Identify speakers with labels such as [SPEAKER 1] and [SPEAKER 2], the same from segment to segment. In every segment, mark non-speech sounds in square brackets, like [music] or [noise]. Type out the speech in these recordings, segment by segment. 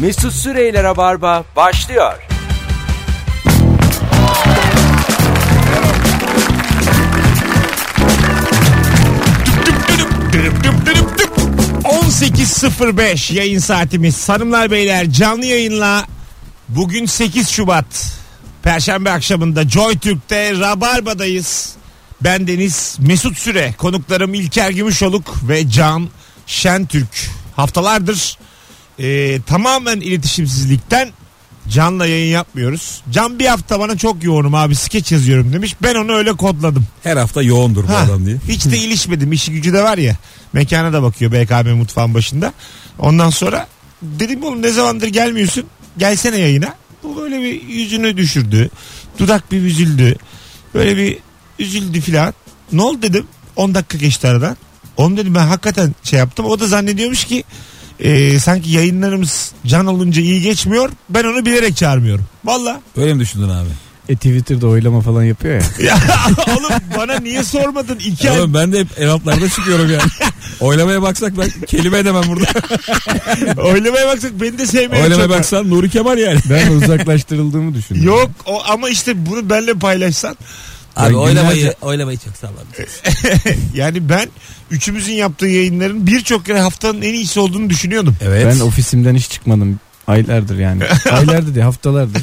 [SPEAKER 1] Mesut Süreyler'e barba başlıyor.
[SPEAKER 2] Düdüp düp düdüp düp. 18.05 yayın saatimiz. Hanımlar beyler canlı yayınla bugün 8 Şubat Perşembe akşamında Joy Türk'te Rabarba'dayız. Ben Deniz Mesut Süre, konuklarım İlker Gümüşoluk ve Can Şentürk. Haftalardır e, tamamen iletişimsizlikten Can'la yayın yapmıyoruz. Can bir hafta bana çok yoğunum abi skeç yazıyorum demiş. Ben onu öyle kodladım.
[SPEAKER 3] Her hafta yoğundur bu
[SPEAKER 2] Ha,
[SPEAKER 3] adam diye.
[SPEAKER 2] Hiç de ilişmedim. İşi gücü de var ya. Mekana da bakıyor BKM mutfağın başında. Ondan sonra dedim oğlum ne zamandır gelmiyorsun? Gelsene yayına. Bu böyle bir yüzünü düşürdü. Dudak bir üzüldü. Böyle bir üzüldü filan. Ne oldu dedim. 10 dakika geçti aradan. Onu dedim ben hakikaten şey yaptım. O da zannediyormuş ki e, sanki yayınlarımız can olunca iyi geçmiyor. Ben onu bilerek çağırmıyorum. Valla.
[SPEAKER 3] Öyle mi düşündün abi?
[SPEAKER 4] E Twitter'da oylama falan yapıyor ya.
[SPEAKER 2] Ya [laughs] oğlum bana niye sormadın? İki ay
[SPEAKER 3] Oğlum ben de hep el altlarda çıkıyorum [laughs] yani. Oylamaya baksak ben kelime edemem burada.
[SPEAKER 2] [laughs]
[SPEAKER 3] [laughs]
[SPEAKER 2] Oylamaya baksak beni de sevmeye
[SPEAKER 3] Oylamaya baksan Nuri Kemal yani. [laughs]
[SPEAKER 4] Ben uzaklaştırıldığımı düşündüm.
[SPEAKER 2] Yok o, ama işte bunu benle paylaşsan.
[SPEAKER 4] Abi oylamayı-
[SPEAKER 3] oylamayı çok salladım.
[SPEAKER 2] Yani ben üçümüzün yaptığı yayınların birçok kere haftanın en iyisi olduğunu düşünüyordum.
[SPEAKER 3] Evet. [laughs]
[SPEAKER 4] Ben ofisimden hiç çıkmadım. Aylardır yani. Aylardır değil haftalardır.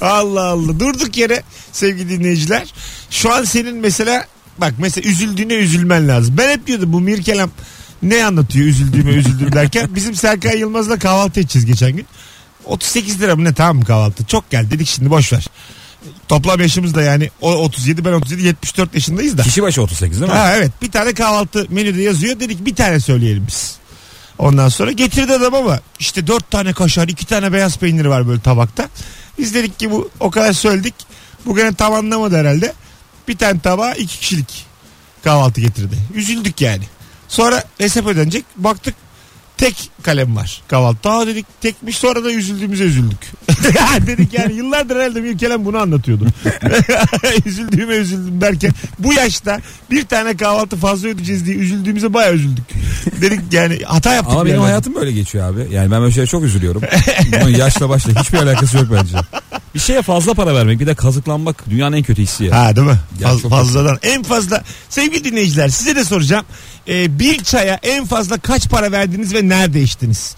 [SPEAKER 2] Allah Allah. Durduk yere sevgili dinleyiciler. Şu an senin mesela bak mesela üzüldüğüne üzülmen lazım. Ben hep diyordum bu Mirkelam ne anlatıyor üzüldüğüme üzüldüm derken. Bizim Serkan Yılmaz'la kahvaltı edeceğiz geçen gün. 38 lira mı ne tamam mı kahvaltı? Çok geldi dedik şimdi boş ver. Toplam yaşımız da yani o 37 ben 37 74 yaşındayız da.
[SPEAKER 3] Kişi başı 38 değil mi?
[SPEAKER 2] Ha evet bir tane kahvaltı menüde yazıyor dedik bir tane söyleyelim biz. Ondan sonra getirdi adam ama işte dört tane kaşar iki tane beyaz peynir var böyle tabakta. Biz dedik ki bu o kadar söyledik. Bu gene tam anlamadı herhalde. Bir tane tabağa iki kişilik kahvaltı getirdi. Üzüldük yani. Sonra hesap ödenecek. Baktık tek kalem var kahvaltı. Aa dedik tekmiş sonra da üzüldüğümüze üzüldük. [laughs] dedik yani yıllardır herhalde bir kelam bunu anlatıyordu. [laughs] Üzüldüğüme üzüldüm derken bu yaşta bir tane kahvaltı fazla ödeyeceğiz diye üzüldüğümüze bayağı üzüldük. Dedik yani hata yaptık.
[SPEAKER 3] Ama
[SPEAKER 2] bir
[SPEAKER 3] benim
[SPEAKER 2] yerden.
[SPEAKER 3] hayatım böyle geçiyor abi. Yani ben böyle şeye çok üzülüyorum. Bunun yaşla başla hiçbir alakası yok bence. Bir şeye fazla para vermek bir de kazıklanmak dünyanın en kötü hissi ya.
[SPEAKER 2] Ha değil mi?
[SPEAKER 3] Ya
[SPEAKER 2] Faz-
[SPEAKER 3] çok
[SPEAKER 2] fazladan. En fazla sevgili dinleyiciler size de soracağım. Ee, bir çaya en fazla kaç para verdiniz ve nerede içtiniz?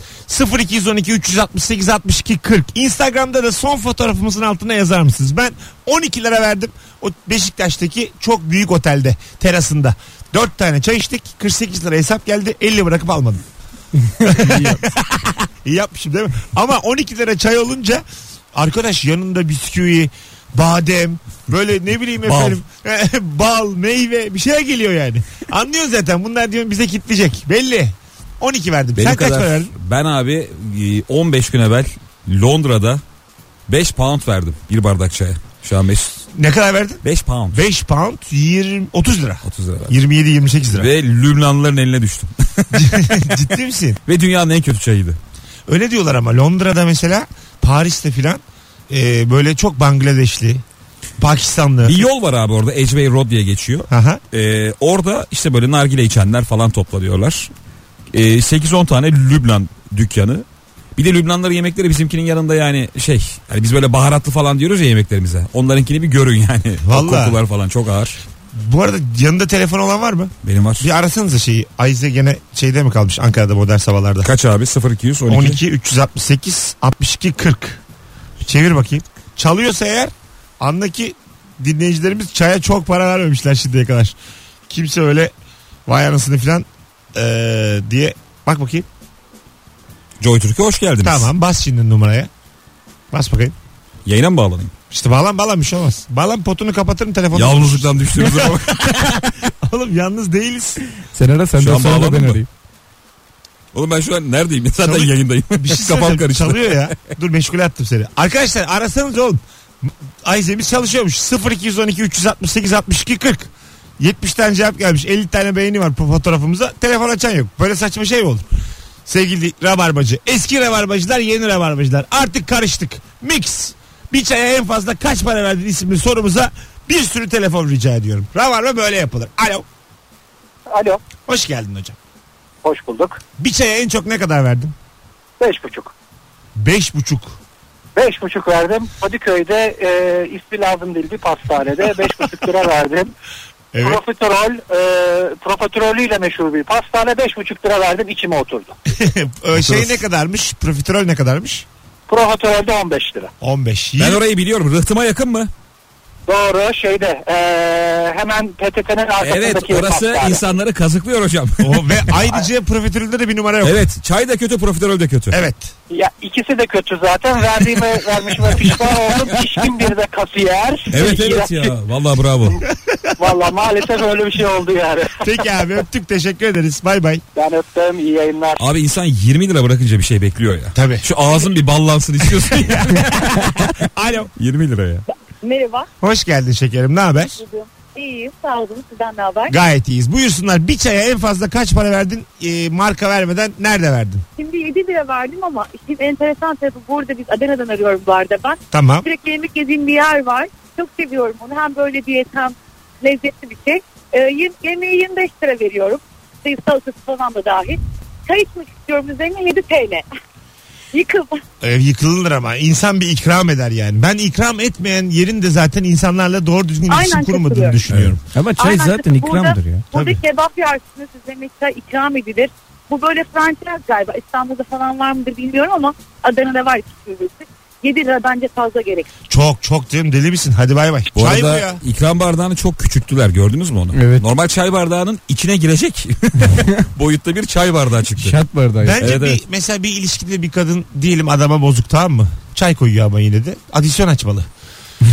[SPEAKER 2] 0212 368 62 40. Instagram'da da son fotoğrafımızın altına yazar mısınız? Ben 12 lira verdim. O Beşiktaş'taki çok büyük otelde terasında. 4 tane çay içtik. 48 lira hesap geldi. 50 bırakıp almadım.
[SPEAKER 4] İyi yap.
[SPEAKER 2] İyi yapmışım değil mi? Ama 12 lira çay olunca arkadaş yanında bisküvi, badem, böyle ne bileyim
[SPEAKER 3] Bal.
[SPEAKER 2] efendim [laughs] bal, meyve bir şeye geliyor yani. Anlıyorsun zaten bunlar diyorum bize kitleyecek. Belli. 12 verdim.
[SPEAKER 3] Benim
[SPEAKER 2] Sen kaç
[SPEAKER 3] kadar-
[SPEAKER 2] para verdin?
[SPEAKER 3] Ben abi e, 15 gün evvel Londra'da 5 pound verdim bir bardak çaya. Şu an Mesut.
[SPEAKER 2] Ne kadar verdin?
[SPEAKER 3] 5 pound.
[SPEAKER 2] 5 pound 20, 30 lira.
[SPEAKER 3] 30 lira. verdim.
[SPEAKER 2] 27-28 lira.
[SPEAKER 3] Ve Lübnanlıların eline düştüm. [laughs]
[SPEAKER 2] Ciddi misin?
[SPEAKER 3] Ve dünyanın en kötü çayıydı.
[SPEAKER 2] Öyle diyorlar ama Londra'da mesela Paris'te filan e, böyle çok Bangladeşli, Pakistanlı.
[SPEAKER 3] Bir yol var abi orada Edgeway Road diye geçiyor.
[SPEAKER 2] Aha.
[SPEAKER 3] Ee, orada işte böyle nargile içenler falan toplanıyorlar. Ee, 8-10 tane Lübnan dükkanı. Bir de Lübnanların yemekleri bizimkinin yanında yani şey hani biz böyle baharatlı falan diyoruz ya yemeklerimize. Onlarınkini bir görün
[SPEAKER 2] [laughs]
[SPEAKER 3] yani. O
[SPEAKER 2] Vallahi.
[SPEAKER 3] Kokular falan çok ağır.
[SPEAKER 2] Bu arada yanında telefon olan var mı?
[SPEAKER 3] Benim var.
[SPEAKER 2] Bir arasanıza şeyi. Ayze gene şeyde mi kalmış Ankara'da modern sabahlarda?
[SPEAKER 3] Kaç abi? 0212.
[SPEAKER 2] 12 368 62 40. Bir Çevir bakayım. Çalıyorsa eğer andaki dinleyicilerimiz çaya çok para vermemişler şimdiye kadar. Kimse öyle vay anasını falan eee, diye bak bakayım.
[SPEAKER 3] Joy Türk'e hoş geldiniz.
[SPEAKER 2] Tamam bas şimdi numaraya. Bas bakayım.
[SPEAKER 3] Yayına mı bağlanayım?
[SPEAKER 2] İşte bağlan bağlan bir şey olmaz. Bağlan potunu kapatırım telefonu. şey-
[SPEAKER 3] Yalnızlıktan düştüğümüz zaman.
[SPEAKER 2] [laughs] Oğlum yalnız değiliz.
[SPEAKER 4] Sen ara sen
[SPEAKER 3] Şu
[SPEAKER 4] de
[SPEAKER 3] an
[SPEAKER 4] sonra da
[SPEAKER 3] bağlandın
[SPEAKER 4] ben
[SPEAKER 3] mı?
[SPEAKER 4] arayayım.
[SPEAKER 3] Oğlum ben şu an neredeyim? Zaten
[SPEAKER 2] Çalıyor-
[SPEAKER 3] yayındayım.
[SPEAKER 2] [laughs] Bir şey
[SPEAKER 3] [laughs] Kafam
[SPEAKER 2] söyleyeceğim.
[SPEAKER 3] karıştı.
[SPEAKER 2] Çalıyor ya. Dur meşgule attım seni. Arkadaşlar arasanız oğlum. Ayzemiz çalışıyormuş. 0212 368 62 40. 70 tane cevap gelmiş. 50 tane beğeni var bu fotoğrafımıza. Telefon açan yok. Böyle saçma şey mi olur? Sevgili rabarbacı. Eski rabarbacılar yeni rabarbacılar. Artık karıştık. Mix. Bir çaya en fazla kaç para verdin isimli sorumuza bir sürü telefon rica ediyorum. Rabarba böyle yapılır. Alo.
[SPEAKER 5] Alo.
[SPEAKER 2] Hoş geldin hocam.
[SPEAKER 5] Hoş bulduk.
[SPEAKER 2] Bir çaya en çok ne kadar verdin?
[SPEAKER 5] Beş buçuk.
[SPEAKER 2] Beş buçuk. [laughs]
[SPEAKER 5] Beş buçuk verdim. Kadıköy'de e, ismi lazım değil bir pastanede beş buçuk
[SPEAKER 3] [laughs]
[SPEAKER 5] lira verdim.
[SPEAKER 2] Evet.
[SPEAKER 5] Profiterol, e, profiterolüyle meşhur bir pastane beş buçuk lira verdim içime oturdu.
[SPEAKER 2] Ee, şey ne kadarmış? Profiterol ne kadarmış?
[SPEAKER 5] Profiterolde 15 lira.
[SPEAKER 2] 15.
[SPEAKER 3] Ben
[SPEAKER 2] Yirmi-
[SPEAKER 3] orayı biliyorum. Rıhtıma yakın mı?
[SPEAKER 5] Doğru şeyde e, hemen PTT'nin
[SPEAKER 3] Evet
[SPEAKER 5] arkasındaki
[SPEAKER 3] orası
[SPEAKER 5] pastane.
[SPEAKER 3] insanları kazıklıyor hocam.
[SPEAKER 2] O, ve ayrıca profiterolde de bir numara yok.
[SPEAKER 3] evet çay da kötü profiterol de kötü.
[SPEAKER 2] Evet.
[SPEAKER 5] Ya ikisi de kötü zaten. Verdiğime vermişime pişman oldum. Pişkin bir de kasiyer.
[SPEAKER 3] [laughs] Evet evet ya. Vallahi bravo.
[SPEAKER 5] Valla maalesef öyle bir şey oldu yani.
[SPEAKER 2] Peki abi öptük teşekkür ederiz. Bay bay.
[SPEAKER 5] Ben öptüm iyi yayınlar.
[SPEAKER 3] Abi insan 20 lira bırakınca bir şey bekliyor ya.
[SPEAKER 2] Tabii.
[SPEAKER 3] Şu ağzın bir ballansın istiyorsun ya.
[SPEAKER 2] Alo.
[SPEAKER 3] 20 lira ya.
[SPEAKER 6] Merhaba.
[SPEAKER 2] Hoş geldin şekerim. Ne haber?
[SPEAKER 6] Duydum. İyiyim. Sağ olun. Sizden ne haber?
[SPEAKER 2] Gayet iyiyiz. Buyursunlar. Bir çaya en fazla kaç para verdin? Ee, marka vermeden nerede verdin?
[SPEAKER 6] Şimdi 7 lira verdim ama şimdi enteresan tarafı burada biz Adana'dan arıyorum bu arada ben.
[SPEAKER 2] Tamam.
[SPEAKER 6] Sürekli yemek yediğim bir yer var. Çok seviyorum onu. Hem böyle diyet hem lezzetli bir şey. Ee, yem- yemeğe 25 lira veriyorum. Şey, salatası falan da dahil. Çay içmek istiyorum üzerine 7 [laughs] TL. Yıkıldım.
[SPEAKER 2] Ee, yıkılır ama. insan bir ikram eder yani. Ben ikram etmeyen yerin de zaten insanlarla doğru düzgün
[SPEAKER 6] Aynen,
[SPEAKER 2] iletişim kurmadığını
[SPEAKER 6] katılıyorum.
[SPEAKER 2] düşünüyorum.
[SPEAKER 4] Ama çay
[SPEAKER 6] Aynen,
[SPEAKER 4] Şey zaten
[SPEAKER 6] çünkü
[SPEAKER 4] ikramdır ya.
[SPEAKER 6] Burada
[SPEAKER 2] Tabii.
[SPEAKER 6] kebap yersiniz size mesela ikram edilir. Bu böyle franchise galiba. İstanbul'da falan var mıdır bilmiyorum ama Adana'da var iki bölgesi. 7 lira bence fazla gerek.
[SPEAKER 2] Çok çok canım deli misin? Hadi bay bay.
[SPEAKER 3] Bu
[SPEAKER 2] Çay bu
[SPEAKER 3] arada
[SPEAKER 2] ya.
[SPEAKER 3] ikram bardağını çok küçülttüler gördünüz mü onu?
[SPEAKER 4] Evet.
[SPEAKER 3] Normal çay bardağının içine girecek [laughs] boyutta bir çay bardağı çıktı.
[SPEAKER 4] Şat bardağı.
[SPEAKER 2] Bence
[SPEAKER 3] Evet,
[SPEAKER 2] bir,
[SPEAKER 3] evet.
[SPEAKER 2] mesela bir ilişkide bir kadın diyelim adama bozuk tamam mı? Çay koyuyor ama yine de. Adisyon açmalı.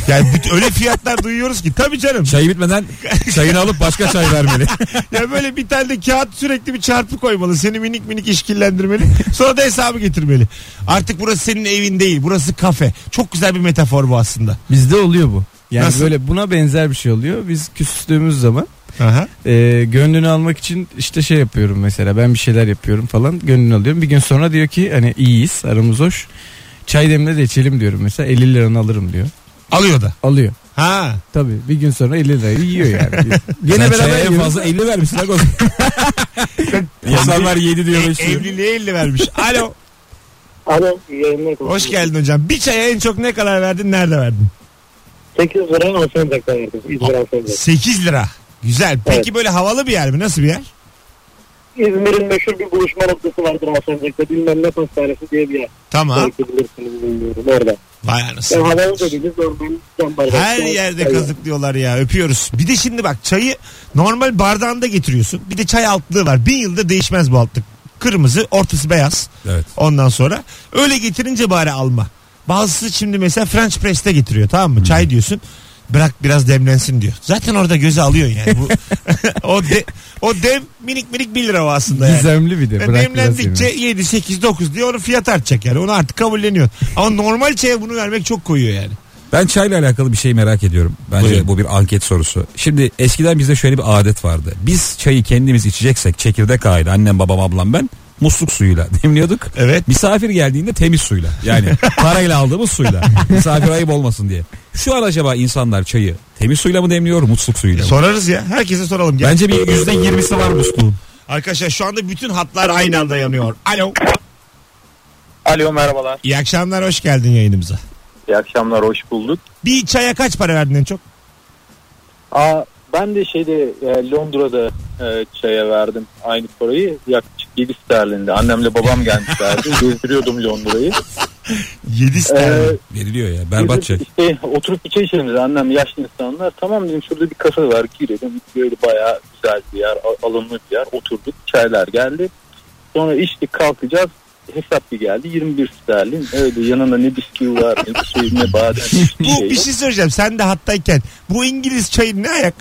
[SPEAKER 2] Yani bütün- öyle fiyatlar duyuyoruz ki. Tabii canım.
[SPEAKER 3] Çayı bitmeden çayını alıp başka çay vermeli.
[SPEAKER 2] Ya böyle bir tane de kağıt sürekli bir çarpı koymalı. Seni minik minik işkillendirmeli. Sonra da hesabı getirmeli. Artık burası senin evin değil. Burası kafe. Çok güzel bir metafor bu aslında.
[SPEAKER 4] Bizde oluyor bu. Yani
[SPEAKER 2] Nasıl?
[SPEAKER 4] böyle buna benzer bir şey oluyor. Biz küstüğümüz zaman
[SPEAKER 2] Aha.
[SPEAKER 4] e, gönlünü almak için işte şey yapıyorum mesela ben bir şeyler yapıyorum falan gönlünü alıyorum. Bir gün sonra diyor ki hani iyiyiz aramız hoş çay demle de içelim diyorum mesela 50 liranı alırım diyor.
[SPEAKER 2] Alıyor da.
[SPEAKER 4] Alıyor.
[SPEAKER 2] Ha.
[SPEAKER 4] Tabii bir gün sonra 50 lirayı yiyor [laughs] yani.
[SPEAKER 3] Sen
[SPEAKER 4] Gene
[SPEAKER 3] çaya
[SPEAKER 4] beraber
[SPEAKER 3] en
[SPEAKER 4] yiyoruz.
[SPEAKER 3] fazla 50 vermişsin. Agos. İnsanlar 7 diyor.
[SPEAKER 2] E-
[SPEAKER 3] beş diyor.
[SPEAKER 2] evliliğe elli vermiş. Alo.
[SPEAKER 5] Alo iyi yayınlar.
[SPEAKER 2] Hoş geldin hocam. Bir çaya en çok ne kadar verdin? Nerede verdin?
[SPEAKER 5] 8 lira alsan dakika verdim. 100
[SPEAKER 2] Ah.
[SPEAKER 5] lira alsan
[SPEAKER 2] 8 lira. Güzel. Peki
[SPEAKER 5] Evet.
[SPEAKER 2] böyle havalı bir yer mi? Nasıl bir yer?
[SPEAKER 5] İzmir'in meşhur bir buluşma noktası vardır Alsancak'ta. Bilmem ne pastanesi diye bir yer.
[SPEAKER 2] Tamam.
[SPEAKER 5] Belki bilirsiniz bilmiyorum orada.
[SPEAKER 2] Vay
[SPEAKER 5] Ben
[SPEAKER 2] anasını.
[SPEAKER 5] havalı da değiliz oradan can bardağı.
[SPEAKER 2] Her yerde
[SPEAKER 5] Çay-
[SPEAKER 2] kazıklıyorlar ya öpüyoruz. Bir de şimdi bak çayı normal bardağında getiriyorsun. Bir de çay altlığı var. Bin yılda değişmez bu altlık. Kırmızı ortası beyaz.
[SPEAKER 3] Evet.
[SPEAKER 2] Ondan sonra öyle getirince bari alma. Bazısı şimdi mesela French press'te getiriyor tamam mı? Çay diyorsun. Bırak biraz demlensin diyor. Zaten orada göze alıyor yani. Bu, o, de, o dem minik minik 1 lira o aslında yani.
[SPEAKER 4] Gizemli bir de.
[SPEAKER 2] Ve
[SPEAKER 4] Bırak biraz
[SPEAKER 2] demlendikçe 7, 8, 9 diye onun fiyat artacak yani. Onu artık kabulleniyor. Ama normal çaya bunu vermek çok koyuyor yani.
[SPEAKER 3] Ben çayla alakalı bir şey merak ediyorum. Bence
[SPEAKER 2] Buyurun.
[SPEAKER 3] bu bir anket sorusu. Şimdi eskiden bizde şöyle bir adet vardı. Biz çayı kendimiz içeceksek çekirdek aile annem babam ablam ben musluk suyuyla [laughs] demliyorduk.
[SPEAKER 2] Evet.
[SPEAKER 3] Misafir geldiğinde temiz suyla yani parayla aldığımız suyla misafir ayıp olmasın diye. Şu an acaba insanlar çayı temiz suyla mı demliyor musluk suyuyla mı?
[SPEAKER 2] E, Sorarız ya. Herkese soralım. Gel.
[SPEAKER 3] Bence bir yüzde yirmisi var musluğun.
[SPEAKER 2] Arkadaşlar şu anda bütün hatlar aynı anda yanıyor. Alo.
[SPEAKER 7] Alo merhabalar.
[SPEAKER 2] İyi akşamlar hoş geldin yayınımıza.
[SPEAKER 7] İyi akşamlar hoş bulduk.
[SPEAKER 2] Bir çaya kaç para verdin en çok?
[SPEAKER 7] Aa, ben de şeyde e, Londra'da e, çaya verdim aynı parayı yaklaşık 7 sterlinde. Annemle
[SPEAKER 2] [laughs]
[SPEAKER 7] babam gelmişlerdi. Gezdiriyordum Londra'yı.
[SPEAKER 2] 7
[SPEAKER 7] Ee,
[SPEAKER 2] sterlin.
[SPEAKER 3] Veriliyor ya berbat çay.
[SPEAKER 7] dedim, işte, oturup içe içelim dedi annem yaşlı insanlar. Tamam dedim şurada bir kasa var girelim. Böyle bayağı güzel bir yer a- alımlı bir yer. Oturduk çaylar geldi. Sonra içtik kalkacağız. Hesap bir geldi 21 sterlin. Öyle yanında ne bisküvi var ne bir şey ne badem. hiçbir
[SPEAKER 2] Bu
[SPEAKER 7] şey
[SPEAKER 2] bir
[SPEAKER 7] yok.
[SPEAKER 2] şey söyleyeceğim. Sen de hattayken bu İngiliz çayı ne ayak?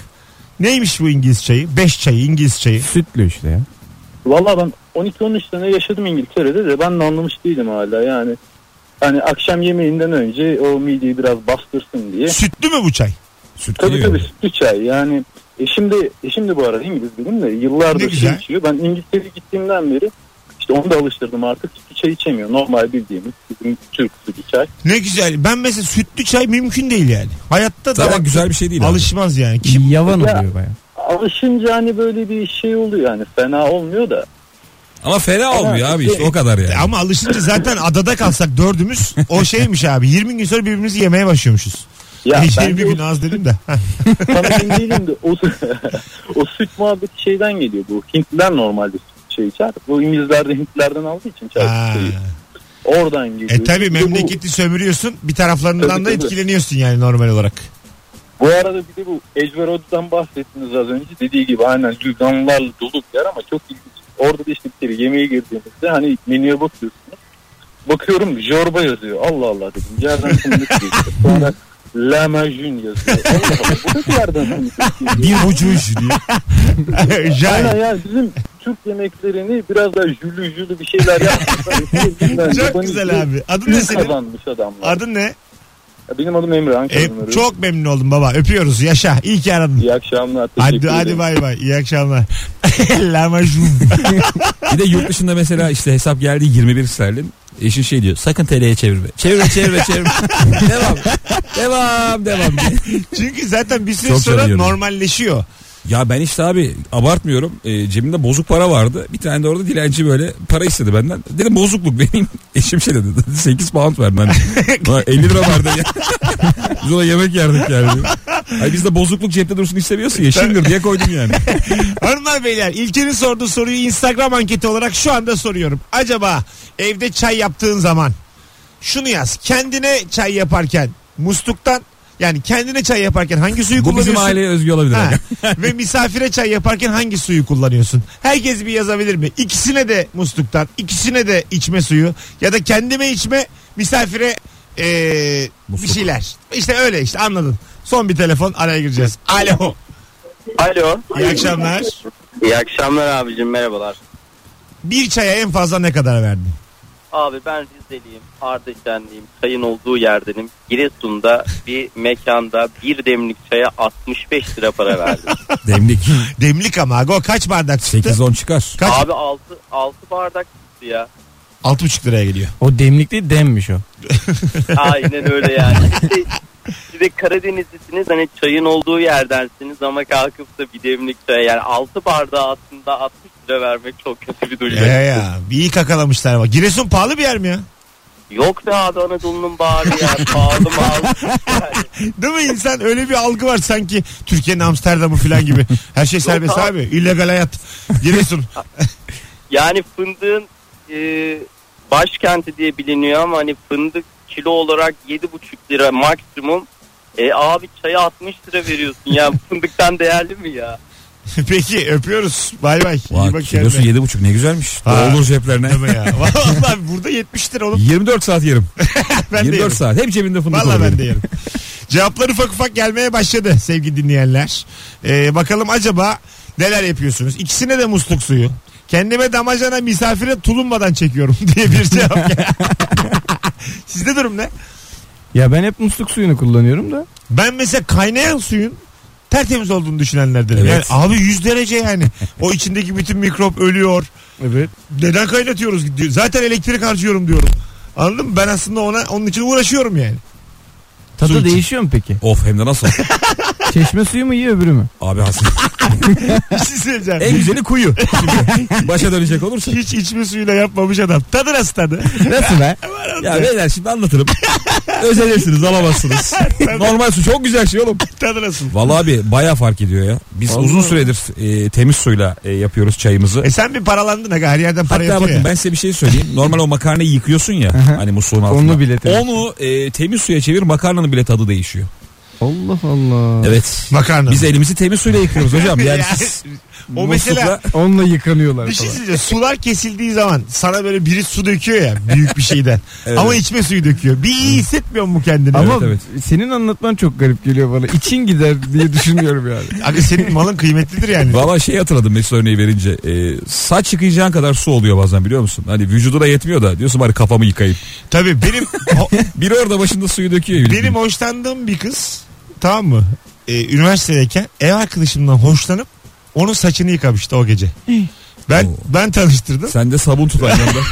[SPEAKER 2] Neymiş bu İngiliz çayı? 5 çayı İngiliz çayı.
[SPEAKER 4] Sütlü işte ya.
[SPEAKER 7] Valla ben 12-13 sene yaşadım İngiltere'de de ben de anlamış değilim hala yani. Hani akşam yemeğinden önce o mideyi biraz bastırsın diye.
[SPEAKER 2] Sütlü mü bu çay?
[SPEAKER 3] Süt
[SPEAKER 7] Tabii
[SPEAKER 3] geliyor.
[SPEAKER 7] tabii sütlü çay yani. E şimdi e şimdi bu arada İngiliz dedim de
[SPEAKER 2] Ne
[SPEAKER 7] yıllardır
[SPEAKER 2] güzel.
[SPEAKER 7] şey içiyor. Ben İngiltere'ye gittiğimden beri işte onu da alıştırdım artık. Sütlü çay içemiyor. Normal bildiğimiz bizim Türk sütlü çay.
[SPEAKER 2] Ne güzel. Ben mesela sütlü çay mümkün değil yani. Hayatta da
[SPEAKER 3] Zaten güzel bir şey değil. abi.
[SPEAKER 2] alışmaz yani. Kim?
[SPEAKER 4] Yavan
[SPEAKER 7] Ya.
[SPEAKER 4] oluyor baya.
[SPEAKER 7] Alışınca hani böyle bir şey oluyor yani fena olmuyor da.
[SPEAKER 3] Ama fena olmuyor abi işte o kadar yani.
[SPEAKER 2] Ama alışınca zaten adada kalsak dördümüz o şeymiş abi. 20 gün sonra birbirimizi yemeye başlıyormuşuz.
[SPEAKER 7] Ya
[SPEAKER 2] E,
[SPEAKER 7] bence
[SPEAKER 2] 20
[SPEAKER 7] o
[SPEAKER 2] gün az dedim de. Heh,
[SPEAKER 7] Tam
[SPEAKER 2] [laughs]
[SPEAKER 7] emin değilim de o, o süt muhabbeti şeyden geliyor bu. Hintliler normalde süt şey içer. Bu İngilizler de Hintlilerden aldığı için çay
[SPEAKER 2] ha.
[SPEAKER 7] şeyi. Oradan geliyor.
[SPEAKER 2] E tabi
[SPEAKER 7] Bir de bu-
[SPEAKER 2] memleketi sömürüyorsun bir taraflarından da
[SPEAKER 7] Tabii, tabii.
[SPEAKER 2] etkileniyorsun yani normal olarak.
[SPEAKER 7] Bu arada bir de bu Ejverodu'dan bahsettiniz az önce. Dediği gibi aynen cüzdanlarla dolu bir yer ama çok ilginç. Orada da işte bir kere yemeğe girdiğimizde hani menüye bakıyorsunuz. Bakıyorum jorba yazıyor. Allah Allah dedim.
[SPEAKER 2] [laughs]
[SPEAKER 7] Yerden fındık geçti. Sonra lahmacun yazıyor. Allah Allah. Bu da bir yerden fındık geçti.
[SPEAKER 3] Bir bucuş
[SPEAKER 7] [laughs]
[SPEAKER 3] diye.
[SPEAKER 2] Jai.
[SPEAKER 7] Aynen yani bizim Türk yemeklerini biraz daha jülü jülü bir şeyler yapmışlar.
[SPEAKER 2] Çok güzel abi. Adın ne
[SPEAKER 7] Ne
[SPEAKER 2] senin?
[SPEAKER 7] kazanmış adamlar.
[SPEAKER 2] Adın ne?
[SPEAKER 7] Benim adım Emre
[SPEAKER 2] E,
[SPEAKER 7] Ankara'nın. çok...
[SPEAKER 2] çok memnun oldum baba. Öpüyoruz. Yaşa. İyi ki aradın.
[SPEAKER 7] İyi akşamlar.
[SPEAKER 2] Hadi,
[SPEAKER 7] teşekkür
[SPEAKER 2] hadi
[SPEAKER 7] ederim.
[SPEAKER 2] bay bay. İyi akşamlar. [laughs] Lahmacun.
[SPEAKER 3] Bir de yurt dışında mesela işte hesap geldi 21 sterlin. Eşin şey diyor sakın TL'ye çevirme. Çevirme çevirme çevirme. [laughs] devam. Devam devam. diye.
[SPEAKER 2] Çünkü zaten bir süre
[SPEAKER 3] Çok
[SPEAKER 2] sonra
[SPEAKER 3] seviyorum.
[SPEAKER 2] normalleşiyor.
[SPEAKER 3] Ya ben işte abi abartmıyorum. Ee, cebimde bozuk para vardı. Bir tane de orada dilenci böyle para istedi benden. Dedim bozukluk vereyim. [laughs] Eşim şey dedi. 8 pound ver ben. [laughs] Ulan 50 lira vardı ya. [laughs] biz ona yemek yerdik yani. Ay biz de bozukluk cepte dursun istemiyorsun ya. Şimdir diye koydum
[SPEAKER 2] [laughs]
[SPEAKER 3] yani.
[SPEAKER 2] Hanımlar beyler İlker'in sorduğu soruyu Instagram anketi olarak şu anda soruyorum. Acaba evde çay yaptığın zaman şunu yaz. Kendine çay yaparken musluktan yani kendine çay yaparken hangi
[SPEAKER 3] Bu
[SPEAKER 2] suyu
[SPEAKER 3] bizim
[SPEAKER 2] kullanıyorsun?
[SPEAKER 3] aileye özgü olabilir.
[SPEAKER 2] Ha.
[SPEAKER 3] aga.
[SPEAKER 2] [laughs] Ve misafire çay yaparken hangi suyu kullanıyorsun? Herkes bir yazabilir mi? İkisine de musluktan, ikisine de içme suyu ya da kendime içme, misafire ee, bir
[SPEAKER 3] Musluk.
[SPEAKER 2] şeyler. İşte öyle işte anladın. Son bir telefon araya gireceğiz. Alo.
[SPEAKER 8] Alo.
[SPEAKER 2] İyi akşamlar.
[SPEAKER 8] İyi akşamlar abicim merhabalar.
[SPEAKER 2] Bir çaya en fazla ne kadar verdin?
[SPEAKER 8] Abi ben Rizeliyim, Ardeşenliyim, çayın olduğu yerdenim. Giresun'da bir mekanda bir demlik çaya 65 lira para verdim.
[SPEAKER 3] Demlik.
[SPEAKER 2] Demlik ama aga, o kaç bardak çıktı?
[SPEAKER 3] 8-10 çıkar.
[SPEAKER 2] Kaç?
[SPEAKER 8] Abi 6 6 bardak çıktı ya.
[SPEAKER 2] 6,5 liraya geliyor.
[SPEAKER 4] O demlik değil demmiş o.
[SPEAKER 8] Aynen öyle yani. Bir de, bir de Karadenizlisiniz hani çayın olduğu yerdensiniz ama kalkıp da bir demlik çaya yani 6 bardağı aslında 60 lira vermek çok kötü bir duygu.
[SPEAKER 2] Ya ya bir iyi kakalamışlar ama. Giresun pahalı bir yer mi ya?
[SPEAKER 8] Yok be abi Anadolu'nun bağrı ya pahalı mal.
[SPEAKER 2] Değil mi insan öyle bir algı var sanki Türkiye'nin Amsterdam'ı falan gibi. Her şey serbest
[SPEAKER 8] abi.
[SPEAKER 2] abi. İllegal hayat. Giresun.
[SPEAKER 8] Yani fındığın e, başkenti diye biliniyor ama hani fındık kilo olarak 7,5 lira maksimum. E abi çaya 60 lira veriyorsun ya [laughs] fındıktan değerli mi ya?
[SPEAKER 2] Peki öpüyoruz. Bay bay. iyi
[SPEAKER 3] Vay,
[SPEAKER 2] bak
[SPEAKER 3] kilosu
[SPEAKER 2] kendine.
[SPEAKER 3] 7,5 ne güzelmiş.
[SPEAKER 2] Ha.
[SPEAKER 3] Olur
[SPEAKER 2] [laughs]
[SPEAKER 3] ceplerine.
[SPEAKER 2] Değil mi ya? Vallahi burada 70 lira oğlum.
[SPEAKER 3] 24 saat yerim.
[SPEAKER 2] [laughs] Ben de
[SPEAKER 3] 24
[SPEAKER 2] yerim.
[SPEAKER 3] saat. Hep cebimde fındık
[SPEAKER 2] Valla
[SPEAKER 3] olur
[SPEAKER 2] ben
[SPEAKER 3] benim.
[SPEAKER 2] de yerim. [laughs] Cevaplar ufak ufak gelmeye başladı sevgili dinleyenler. Ee, bakalım acaba neler yapıyorsunuz? İkisine de musluk suyu. Kendime damacana misafire tulumbadan çekiyorum [laughs] diye bir cevap. geldi. Sizde durum ne?
[SPEAKER 4] Ya ben hep musluk suyunu kullanıyorum da.
[SPEAKER 2] Ben mesela kaynayan suyun tertemiz olduğunu düşünenlerdenim.
[SPEAKER 3] Evet.
[SPEAKER 2] Yani abi 100 derece yani. O içindeki bütün mikrop ölüyor.
[SPEAKER 4] Evet.
[SPEAKER 2] Neden kaynatıyoruz? diyor. Zaten elektrik harcıyorum diyorum. Anladın mı? Ben aslında ona onun için uğraşıyorum yani. [laughs] Su
[SPEAKER 4] Tadı
[SPEAKER 2] için.
[SPEAKER 4] değişiyor mu peki?
[SPEAKER 3] Of hem de nasıl? [laughs]
[SPEAKER 4] Çeşme suyu mu iyi öbürü mü?
[SPEAKER 3] Abi Hasan.
[SPEAKER 2] Bir şey söyleyeceğim.
[SPEAKER 3] en güzeli
[SPEAKER 2] [laughs]
[SPEAKER 3] kuyu. Şimdi başa dönecek olursa.
[SPEAKER 2] Hiç içme suyuyla yapmamış adam. Tadı nasıl tadı? [laughs]
[SPEAKER 4] Nasıl be?
[SPEAKER 3] Ya beyler şimdi anlatırım. Özenirsiniz alamazsınız. Normal su çok güzel şey oğlum.
[SPEAKER 2] tadı nasıl?
[SPEAKER 3] Vallahi abi baya fark ediyor ya. Biz uzun süredir e, temiz suyla e, yapıyoruz çayımızı.
[SPEAKER 2] E sen bir paralandın aga her yerden para
[SPEAKER 3] Hatta
[SPEAKER 2] yatıyor
[SPEAKER 3] bakın
[SPEAKER 2] ya.
[SPEAKER 3] ben size bir şey söyleyeyim. Normal o makarnayı yıkıyorsun ya hani musluğun altında.
[SPEAKER 4] Onu bile tabii.
[SPEAKER 3] Onu e, temiz suya çevir makarnanın bile tadı değişiyor.
[SPEAKER 4] [laughs] Allah Allah.
[SPEAKER 3] Evet.
[SPEAKER 2] Makarna.
[SPEAKER 3] Biz elimizi temiz suyla yıkıyoruz
[SPEAKER 2] [laughs]
[SPEAKER 3] hocam. Yani siz
[SPEAKER 2] o mesela
[SPEAKER 3] muslukla-
[SPEAKER 4] Onunla yıkanıyorlar
[SPEAKER 2] bir şey
[SPEAKER 4] falan.
[SPEAKER 2] söyleyeceğim. Sular kesildiği zaman sana böyle biri su döküyor ya büyük bir şeyden.
[SPEAKER 3] [laughs] Evet.
[SPEAKER 2] Ama içme suyu döküyor. Bir iyi hissetmiyor mu kendini?
[SPEAKER 4] Ama
[SPEAKER 3] Evet,
[SPEAKER 4] senin anlatman çok garip geliyor bana. İçin gider diye düşünüyorum yani.
[SPEAKER 2] Aga senin malın kıymetlidir yani.
[SPEAKER 3] Valla şey hatırladım Mesut örneği verince. E, saç yıkayacağın kadar su oluyor bazen biliyor musun? Hani vücuduna yetmiyor da diyorsun bari kafamı yıkayayım.
[SPEAKER 2] Tabii benim o-
[SPEAKER 3] Biri orada başında suyu döküyor.
[SPEAKER 2] benim hoşlandığım bir kız tamam mı? Ee, üniversitedeyken ev arkadaşımdan hoşlanıp onun saçını yıkamıştı o gece. Ben
[SPEAKER 3] Oo.
[SPEAKER 2] ben tanıştırdım.
[SPEAKER 3] Sen de sabun tut aynı
[SPEAKER 2] [laughs]
[SPEAKER 3] anda.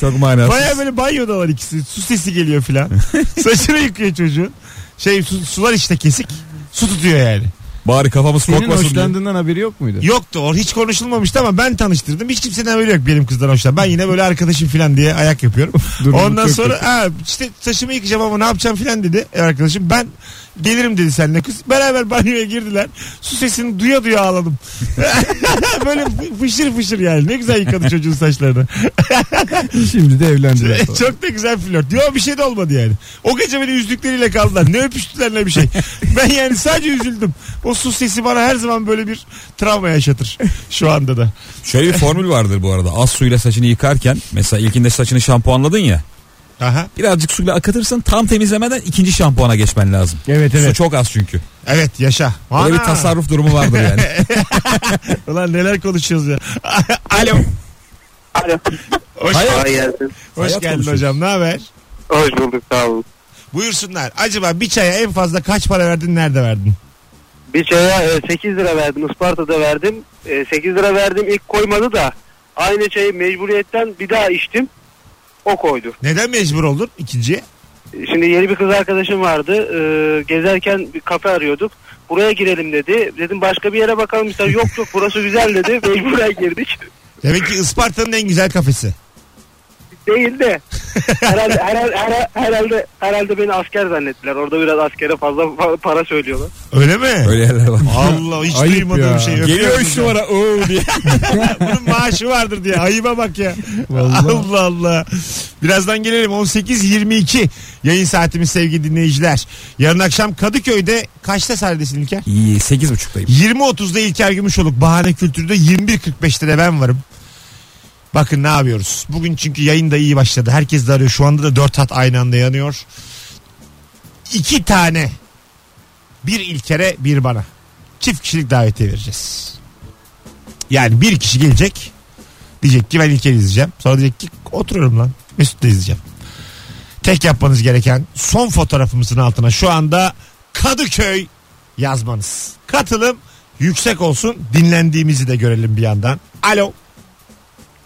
[SPEAKER 3] Çok manasız.
[SPEAKER 2] Baya böyle banyodalar ikisi. Su sesi
[SPEAKER 4] [laughs]
[SPEAKER 2] geliyor filan. Saçını yıkıyor çocuğun. Şey su- sular işte kesik. Su tutuyor yani.
[SPEAKER 3] Bari kafamız
[SPEAKER 4] [laughs] Senin
[SPEAKER 3] kokmasın diye.
[SPEAKER 4] hoşlandığından haberi yok muydu?
[SPEAKER 2] Yoktu or hiç konuşulmamıştı ama ben tanıştırdım. Hiç kimsenin haberi yok benim kızdan hoşlan. Ben yine böyle arkadaşım falan diye ayak yapıyorum.
[SPEAKER 4] [laughs] Durumu
[SPEAKER 2] Ondan
[SPEAKER 4] çok
[SPEAKER 2] sonra ha, işte saçımı yıkayacağım ama ne yapacağım falan dedi arkadaşım. Ben gelirim dedi seninle kız. Beraber banyoya girdiler. Su sesini duya duya ağladım. [laughs] böyle fı- fışır fışır yani. Ne güzel yıkadı çocuğun saçlarını.
[SPEAKER 4] [laughs] Şimdi de evlendiler. falan.
[SPEAKER 2] [laughs] Çok da güzel flört. Yok bir şey de olmadı yani. O gece beni üzdükleriyle kaldılar. Ne öpüştüler ne
[SPEAKER 3] [laughs]
[SPEAKER 2] bir şey. Ben yani sadece üzüldüm. O su sesi bana her zaman böyle bir travma yaşatır. Şu anda da.
[SPEAKER 3] Şöyle bir formül vardır bu arada. Az suyla saçını yıkarken mesela ilkinde saçını şampuanladın ya.
[SPEAKER 2] Aha.
[SPEAKER 3] Birazcık suyla akatırsın tam temizlemeden ikinci şampuana geçmen lazım.
[SPEAKER 4] Evet
[SPEAKER 3] Su
[SPEAKER 4] [laughs] evet.
[SPEAKER 3] çok az çünkü.
[SPEAKER 2] Evet yaşa.
[SPEAKER 3] Böyle bir
[SPEAKER 2] Ana!
[SPEAKER 3] tasarruf durumu vardır
[SPEAKER 2] [laughs]
[SPEAKER 3] yani.
[SPEAKER 2] Ulan neler konuşuyoruz ya. [laughs] Alo.
[SPEAKER 5] Alo.
[SPEAKER 2] Hoş,
[SPEAKER 3] Hayat,
[SPEAKER 5] geldin.
[SPEAKER 2] hoş
[SPEAKER 3] hayat
[SPEAKER 2] geldin
[SPEAKER 3] konuşuyoruz.
[SPEAKER 2] hocam. Ne haber?
[SPEAKER 5] Hoş bulduk sağ olun.
[SPEAKER 2] Buyursunlar. Acaba bir çaya en fazla kaç para verdin? Nerede verdin?
[SPEAKER 5] Bir çaya e, 8 lira verdim. Isparta'da verdim. E, 8 lira verdim ilk koymadı da aynı çayı mecburiyetten bir daha içtim. O koydu.
[SPEAKER 2] Neden mecbur oldun ikinciye?
[SPEAKER 5] Şimdi yeni bir kız arkadaşım vardı. E, gezerken bir kafe arıyorduk. Buraya girelim dedi. Dedim başka bir yere bakalım. İşte yok yok burası güzel dedi. [laughs] Mecburen girdik.
[SPEAKER 2] Demek ki Isparta'nın en güzel kafesi.
[SPEAKER 5] Değil de herhalde, herhalde, herhalde, herhalde, herhalde beni asker zannettiler. Orada biraz askere fazla fa- para söylüyorlar.
[SPEAKER 2] Öyle mi?
[SPEAKER 3] Öyle yerler var.
[SPEAKER 2] Allah hiç
[SPEAKER 4] Ayıp
[SPEAKER 2] duymadığım
[SPEAKER 4] ya.
[SPEAKER 2] şey.
[SPEAKER 3] Geliyor
[SPEAKER 2] Öpüyorum
[SPEAKER 3] üç
[SPEAKER 2] hocam.
[SPEAKER 3] numara ooo diye.
[SPEAKER 2] [laughs] Bunun maaşı vardır diye. Ayıba bak ya.
[SPEAKER 4] Vallahi.
[SPEAKER 2] Allah Allah. Birazdan gelelim. 18.22 yayın saatimiz sevgili dinleyiciler. Yarın akşam Kadıköy'de kaçta sahnedesin İlker?
[SPEAKER 3] İyi, Sekiz buçuktayım.
[SPEAKER 2] 20.30'da İlker Gümüşoluk Bahane Kültür'de 21.45'te de ben varım. Bakın ne yapıyoruz. Bugün çünkü yayın da iyi başladı. Herkes de arıyor. Şu anda da dört hat aynı anda yanıyor. İki tane. Bir İlker'e bir bana. Çift kişilik davetiye vereceğiz. Yani bir kişi gelecek. Diyecek ki ben İlker'i izleyeceğim. Sonra diyecek ki oturuyorum lan. Mesut'u da izleyeceğim. Tek yapmanız gereken son fotoğrafımızın altına şu anda Kadıköy yazmanız. Katılım yüksek olsun. Dinlendiğimizi de görelim bir yandan. Alo.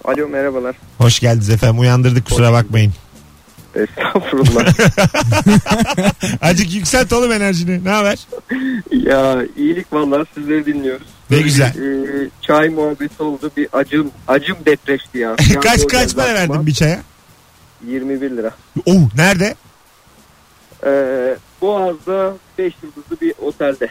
[SPEAKER 9] Alo merhabalar.
[SPEAKER 2] Hoş geldiniz efendim. Uyandırdık kusura bakmayın.
[SPEAKER 9] Estağfurullah.
[SPEAKER 2] [laughs] Acık yükselt oğlum enerjini. Ne haber?
[SPEAKER 9] ya iyilik vallahi sizleri dinliyoruz.
[SPEAKER 2] Ne güzel.
[SPEAKER 9] Ee, çay muhabbeti oldu bir acım acım depreşti ya.
[SPEAKER 2] [laughs] kaç kaç para verdin bir çaya?
[SPEAKER 9] 21 lira.
[SPEAKER 2] Oh nerede?
[SPEAKER 9] Ee, Boğaz'da 5 yıldızlı bir otelde.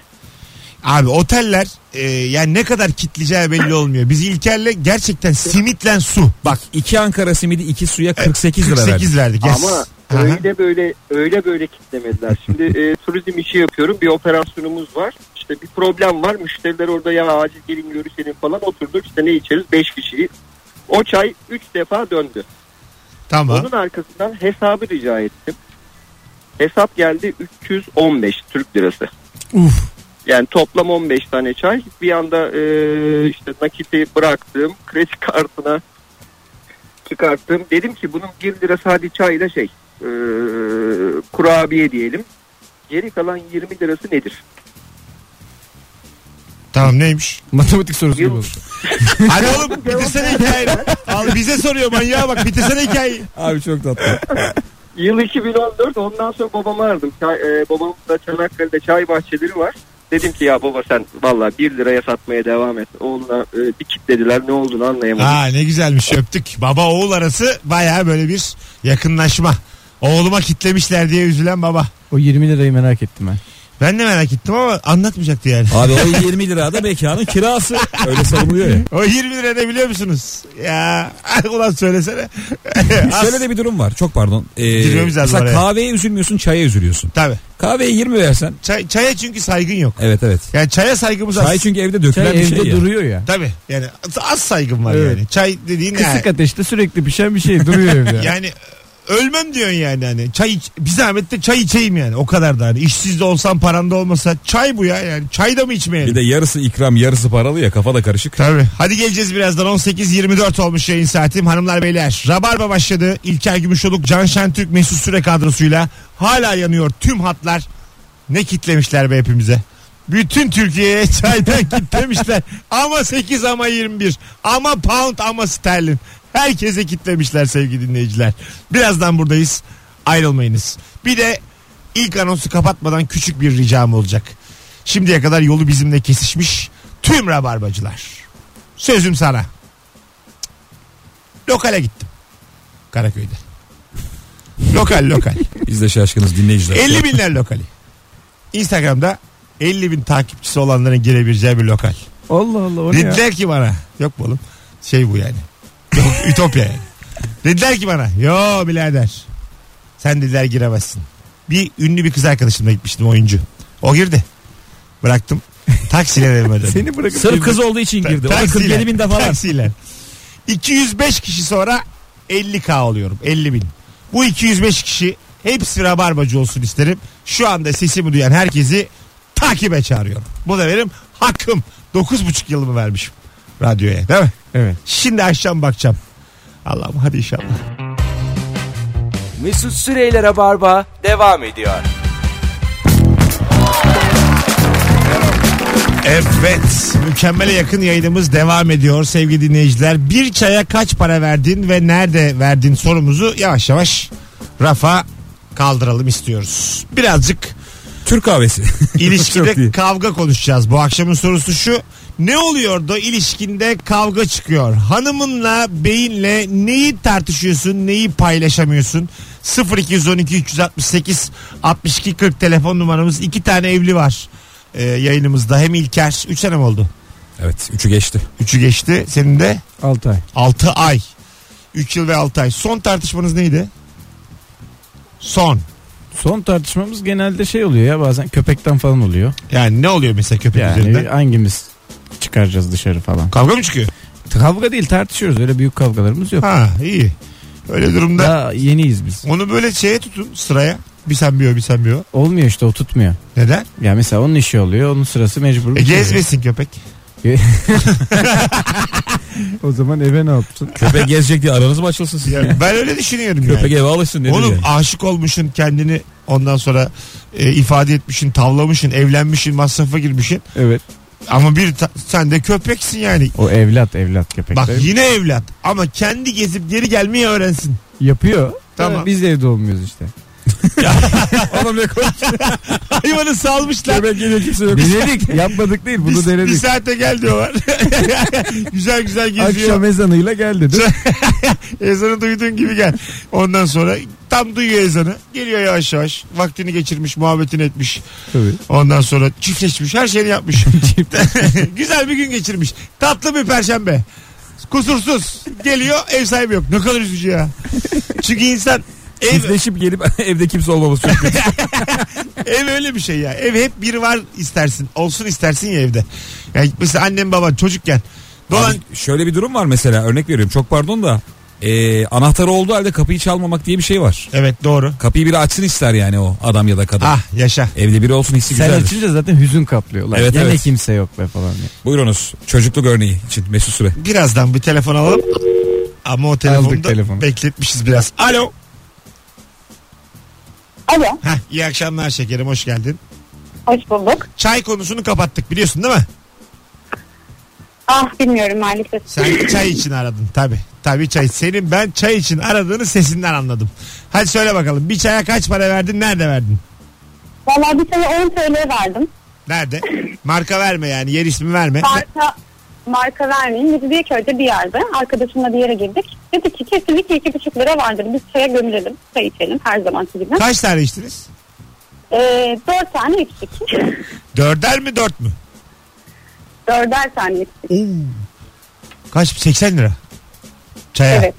[SPEAKER 2] Abi oteller e, yani ne kadar kitleyeceği belli olmuyor. Biz İlker'le gerçekten simitlen su.
[SPEAKER 3] Bak iki Ankara simidi iki suya 48 lira verdim.
[SPEAKER 2] 48 verdik. Yes.
[SPEAKER 9] Ama
[SPEAKER 2] Aha.
[SPEAKER 9] öyle böyle öyle böyle kitlemediler. Şimdi e, turizm işi yapıyorum. Bir operasyonumuz var. İşte bir problem var. Müşteriler orada ya acil gelin görüşelim falan oturduk. İşte ne içeriz? 5 kişiyi. O çay 3 defa döndü.
[SPEAKER 2] Tamam.
[SPEAKER 9] Onun arkasından hesabı rica ettim. Hesap geldi 315 Türk lirası.
[SPEAKER 2] Uf.
[SPEAKER 9] Yani toplam 15 tane çay. Bir anda e, işte nakiti bıraktım. Kredi kartına çıkarttım. Dedim ki bunun 1 lirası hadi çayla şey e, kurabiye diyelim. Geri kalan 20 lirası nedir?
[SPEAKER 2] Tamam neymiş?
[SPEAKER 4] Matematik sorusu gibi
[SPEAKER 9] Yıl-
[SPEAKER 4] oldu.
[SPEAKER 2] Hadi oğlum bitirsene hikayeyi. Al bize soruyor manyağa bak bitirsene hikayeyi.
[SPEAKER 3] Abi çok tatlı.
[SPEAKER 9] Yıl 2014 ondan sonra babamı aradım. Çay, e, babamın da Çanakkale'de çay bahçeleri var. Dedim ki ya baba sen valla 1 liraya satmaya devam et. Oğluna e, bir kitlediler ne olduğunu anlayamadım.
[SPEAKER 2] Ha ne güzelmiş öptük. Baba oğul arası baya böyle bir yakınlaşma. Oğluma kitlemişler diye üzülen baba.
[SPEAKER 4] O 20 lirayı merak ettim ben.
[SPEAKER 2] Ben de merak ettim ama anlatmayacaktı yani.
[SPEAKER 3] Abi o 20 lira da mekanın kirası. Öyle savunuluyor ya.
[SPEAKER 2] O 20 lira ne biliyor musunuz? Ya [laughs]
[SPEAKER 3] [laughs]
[SPEAKER 2] ulan söylesene.
[SPEAKER 3] Şöyle de bir durum var. Çok pardon. Ee,
[SPEAKER 2] Girmemiz lazım
[SPEAKER 3] mesela
[SPEAKER 2] oraya.
[SPEAKER 3] kahveye üzülmüyorsun çaya üzülüyorsun.
[SPEAKER 2] Tabii.
[SPEAKER 3] Kahveye 20 versen.
[SPEAKER 2] Çay, çaya çünkü saygın yok.
[SPEAKER 3] Evet evet.
[SPEAKER 2] Yani çaya saygımız az.
[SPEAKER 3] Çay çünkü evde dökülen
[SPEAKER 4] Çay
[SPEAKER 3] bir
[SPEAKER 4] evde
[SPEAKER 3] şey ya.
[SPEAKER 4] duruyor ya.
[SPEAKER 2] Tabii. Yani az saygın var
[SPEAKER 4] Evet.
[SPEAKER 2] yani. Çay dediğin yani,
[SPEAKER 4] Kısık ateşte sürekli pişen bir şey duruyor evde.
[SPEAKER 2] yani ölmem diyorsun yani hani. Çay iç, bir zahmet de çay içeyim yani. O kadar da hani. İşsiz de olsam paran da olmasa çay bu ya yani. Çay da mı içmeyelim?
[SPEAKER 3] Bir de yarısı ikram yarısı paralı ya kafa da karışık.
[SPEAKER 2] Tabii. Hadi geleceğiz birazdan. 18.24 olmuş yayın saatim. Hanımlar beyler. Rabarba başladı. İlker Gümüşoluk, Can Şentürk, Mesut Süre kadrosuyla. Hala yanıyor tüm hatlar. Ne kitlemişler be hepimize. Bütün Türkiye'ye çaydan [laughs] kitlemişler. Ama 8 ama 21. Ama pound ama sterlin. Herkese kitlemişler sevgili dinleyiciler. Birazdan buradayız. Ayrılmayınız. Bir de ilk anonsu kapatmadan küçük bir ricam olacak. Şimdiye kadar yolu bizimle kesişmiş tüm rabarbacılar. Sözüm sana. Lokale gittim. Karaköy'de. Lokal lokal.
[SPEAKER 3] Biz de şaşkınız dinleyiciler.
[SPEAKER 2] 50 binler lokali. Instagram'da 50 bin takipçisi olanların girebileceği bir lokal.
[SPEAKER 4] Allah Allah o ne ya?
[SPEAKER 2] Dediler ki bana. Yok mu oğlum? Şey bu yani. Yok,
[SPEAKER 4] [laughs]
[SPEAKER 2] Ütopya yani. Dediler ki bana. Yo birader. Sen dediler giremezsin. Bir ünlü bir kız arkadaşımla gitmiştim oyuncu. O girdi. Bıraktım.
[SPEAKER 4] [laughs]
[SPEAKER 2] Taksiyle evime döndüm.
[SPEAKER 4] Seni bırakıp
[SPEAKER 3] Sırf kız olduğu için
[SPEAKER 2] Ta-
[SPEAKER 3] girdi. O da
[SPEAKER 2] taksiyle,
[SPEAKER 3] 47 bin defalar.
[SPEAKER 2] Taksiyle. 205 kişi sonra 50k oluyorum. 50 bin. Bu 205 kişi hepsi rabarbacı olsun isterim. Şu anda sesimi duyan herkesi takibe çağırıyorum. Bu da benim hakkım. 9,5 yılımı vermişim radyoya değil mi?
[SPEAKER 4] Evet.
[SPEAKER 2] Şimdi akşam bakacağım. Allah'ım hadi inşallah.
[SPEAKER 1] Mesut Süreyler'e barba devam ediyor.
[SPEAKER 2] Evet mükemmele yakın yayınımız devam ediyor sevgili dinleyiciler. Bir çaya kaç para verdin ve nerede verdin sorumuzu yavaş yavaş rafa kaldıralım istiyoruz. Birazcık
[SPEAKER 3] Türk kahvesi. Çok
[SPEAKER 2] ilişkide
[SPEAKER 3] iyi.
[SPEAKER 2] kavga konuşacağız. Bu akşamın sorusu şu. Ne oluyor da ilişkinde kavga çıkıyor? Hanımınla, beyinle neyi tartışıyorsun, neyi paylaşamıyorsun? 0212 368 62 40 telefon numaramız. iki tane evli var e, yayınımızda. Hem İlker, 3 sene mi oldu?
[SPEAKER 3] Evet üçü geçti.
[SPEAKER 2] Üçü geçti. Senin de
[SPEAKER 4] 6 ay.
[SPEAKER 2] 6 ay. 3 yıl ve 6 ay. Son tartışmanız neydi? Son.
[SPEAKER 4] Son tartışmamız genelde şey oluyor ya bazen köpekten falan oluyor.
[SPEAKER 2] Yani ne oluyor mesela köpek
[SPEAKER 4] Yani
[SPEAKER 2] üzerinde?
[SPEAKER 4] hangimiz çıkaracağız dışarı falan.
[SPEAKER 2] Kavga mı çıkıyor?
[SPEAKER 4] Kavga değil tartışıyoruz öyle büyük kavgalarımız yok.
[SPEAKER 2] Ha iyi. Öyle durumda
[SPEAKER 4] Daha yeniyiz biz.
[SPEAKER 2] Onu böyle şeye tutun sıraya. Bir sen bir o bir sen bir o.
[SPEAKER 4] Olmuyor işte o tutmuyor.
[SPEAKER 2] Neden?
[SPEAKER 4] Ya mesela onun işi oluyor onun sırası mecbur.
[SPEAKER 2] E,
[SPEAKER 4] bitiriyor.
[SPEAKER 2] gezmesin köpek.
[SPEAKER 4] O zaman eve ne yaptın?
[SPEAKER 3] Köpek gezecek diye aranız mı açılsın sizin?
[SPEAKER 2] Ya ben öyle düşünüyorum
[SPEAKER 3] Köpek
[SPEAKER 2] yani.
[SPEAKER 3] eve alışsın dedi.
[SPEAKER 2] Oğlum
[SPEAKER 3] yani.
[SPEAKER 2] aşık olmuşsun kendini ondan sonra e, ifade etmişsin, tavlamışsın, evlenmişsin, masrafa girmişsin.
[SPEAKER 4] [laughs] Evet.
[SPEAKER 2] Ama bir ta- sen de köpeksin yani.
[SPEAKER 4] O evlat evlat köpek.
[SPEAKER 2] Bak
[SPEAKER 4] Tabii.
[SPEAKER 2] yine evlat ama kendi gezip geri gelmeyi öğrensin. [laughs]
[SPEAKER 4] yapıyor.
[SPEAKER 2] Tamam.
[SPEAKER 4] Tamam. Biz de evde olmuyoruz işte. [laughs]
[SPEAKER 3] Oğlum ne konuşuyor?
[SPEAKER 2] Hayvanı salmışlar.
[SPEAKER 3] Köpek geliyor kimse yok.
[SPEAKER 4] Denedik. Yapmadık değil bunu
[SPEAKER 2] Bir, bir
[SPEAKER 4] denedik.
[SPEAKER 2] saate gel diyorlar. [laughs] güzel güzel geziyor.
[SPEAKER 4] Akşam ezanıyla gel dedim.
[SPEAKER 2] Ezanı duyduğun gibi gel. Ondan sonra tam duyuyor ezanı. Geliyor yavaş yavaş. Vaktini geçirmiş, muhabbetini etmiş.
[SPEAKER 4] Tabii.
[SPEAKER 2] Ondan sonra çiftleşmiş, her
[SPEAKER 4] [laughs]
[SPEAKER 2] şeyini yapmış. [laughs] Güzel bir gün geçirmiş. Tatlı bir perşembe. Kusursuz. Geliyor, ev sahibi yok. Ne kadar üzücü ya. Çünkü insan ev,
[SPEAKER 3] Çiftleşip gelip [laughs] evde kimse olmaması çok kötü.
[SPEAKER 2] ev öyle bir şey ya. Ev hep biri var istersin. Olsun istersin ya evde. Yani mesela annem baban çocukken. Dolan
[SPEAKER 3] Abi şöyle bir durum var mesela örnek veriyorum çok pardon da e, anahtarı olduğu halde kapıyı çalmamak diye bir şey var.
[SPEAKER 2] Evet doğru.
[SPEAKER 3] Kapıyı biri açsın ister yani o adam ya da kadın.
[SPEAKER 2] Ah yaşa.
[SPEAKER 3] Evde biri olsun hissi
[SPEAKER 4] Sen
[SPEAKER 3] güzeldir.
[SPEAKER 4] açınca zaten hüzün kaplıyor. Lan.
[SPEAKER 3] Evet,
[SPEAKER 4] Gene
[SPEAKER 3] evet.
[SPEAKER 4] kimse yok be falan. diye.
[SPEAKER 3] Buyurunuz çocukluk örneği için Mesut Süre.
[SPEAKER 2] Birazdan bir telefon alalım. Ama o telefonu
[SPEAKER 4] Aldık
[SPEAKER 2] da
[SPEAKER 4] telefonu.
[SPEAKER 2] bekletmişiz biraz. Alo.
[SPEAKER 6] Alo,
[SPEAKER 2] Heh, iyi akşamlar şekerim hoş geldin.
[SPEAKER 6] hoş bulduk.
[SPEAKER 2] Çay konusunu kapattık biliyorsun değil mi?
[SPEAKER 6] Ah bilmiyorum maalesef.
[SPEAKER 2] Sen çay için aradın tabi. Tabi çay. Senin ben çay için aradığını sesinden anladım. Hadi söyle bakalım bir çaya kaç para verdin nerede verdin?
[SPEAKER 6] Valla bir sene 10 TL verdim.
[SPEAKER 2] Nerede? Marka verme yani yer ismi verme.
[SPEAKER 6] Marka, marka vermeyeyim. Biz Büyüköy'de bir yerde arkadaşımla bir yere girdik. Dedi ki kesinlikle iki buçuk lira vardır. Biz çaya gömülelim. Çay içelim her zamanki gibi.
[SPEAKER 2] Kaç tane içtiniz?
[SPEAKER 6] Ee, dört tane içtik. [laughs]
[SPEAKER 2] Dörder mi dört mü?
[SPEAKER 6] Dörder tane içtik.
[SPEAKER 2] Kaç? 80 lira. Çaya.
[SPEAKER 6] Evet.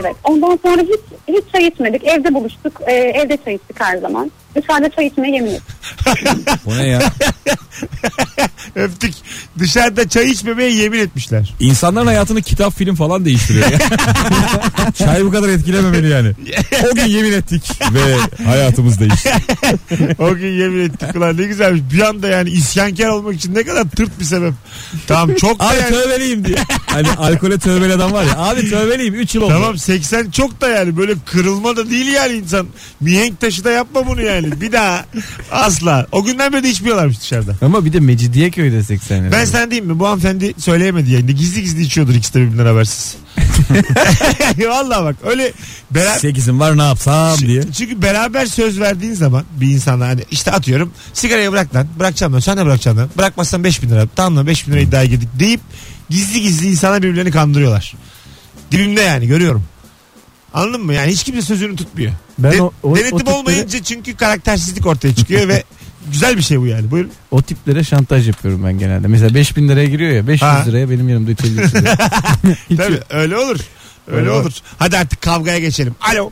[SPEAKER 6] Evet. Ondan sonra hiç hiç çay içmedik. Evde buluştuk. Ee, evde çay içtik her zaman. Dışarıda çay içmeye yemin ettik.
[SPEAKER 3] Bu ne ya?
[SPEAKER 2] Öptük. Dışarıda çay içmemeye yemin etmişler. [laughs]
[SPEAKER 3] İnsanların hayatını kitap film falan değiştiriyor ya. Çay bu kadar etkilememeli yani. O gün yemin ettik ve hayatımız değişti.
[SPEAKER 2] O gün yemin ettik ulan ne güzelmiş. Bir anda yani isyankar olmak için ne kadar tırt bir sebep. Tamam çok da
[SPEAKER 3] Abi
[SPEAKER 2] yani.
[SPEAKER 3] tövbeliyim diye. Hani alkole tövbeli adam var ya. Abi tövbeliyim 3 yıl oldu.
[SPEAKER 2] Tamam 80 çok da yani böyle kırılma da değil yani insan. Mihenk taşı da yapma bunu yani. yani. Bir daha asla. O günden beri de içmiyorlarmış dışarıda.
[SPEAKER 4] Ama bir de Mecidiyeköy'de 80 lira.
[SPEAKER 2] Ben sana diyeyim mi? Bu hanımefendi söyleyemedi yayında. Gizli gizli içiyordur ikisi de
[SPEAKER 3] [laughs]
[SPEAKER 2] birbirinden habersiz. [laughs] Valla bak öyle beraber...
[SPEAKER 3] Sekizim var ne yapsam diye.
[SPEAKER 2] Çünkü beraber söz verdiğin zaman bir insana hani işte atıyorum sigarayı bırak lan bırakacağım lan sen de bırakacaksın lan bırakmazsan 5000 lira tamam lan 5000 lira iddiaya girdik deyip gizli gizli insanlar birbirlerini kandırıyorlar. Dibimde yani görüyorum. Anladın mı? Yani hiç kimse sözünü tutmuyor.
[SPEAKER 4] Ben
[SPEAKER 2] De-
[SPEAKER 4] o- o- o
[SPEAKER 2] denetim
[SPEAKER 4] tipleri-
[SPEAKER 2] olmayınca çünkü karaktersizlik ortaya
[SPEAKER 4] [laughs]
[SPEAKER 2] çıkıyor ve güzel bir şey bu yani. Buyurun.
[SPEAKER 4] O tiplere şantaj yapıyorum ben genelde. Mesela 5000 liraya giriyor ya 500
[SPEAKER 2] Ha.
[SPEAKER 4] liraya benim yanımda 350 lira.
[SPEAKER 2] [laughs]
[SPEAKER 4] Hiç
[SPEAKER 2] Tabii
[SPEAKER 4] yok.
[SPEAKER 2] öyle olur. Öyle,
[SPEAKER 4] Öyle
[SPEAKER 2] olur. Hadi artık kavgaya geçelim. Alo.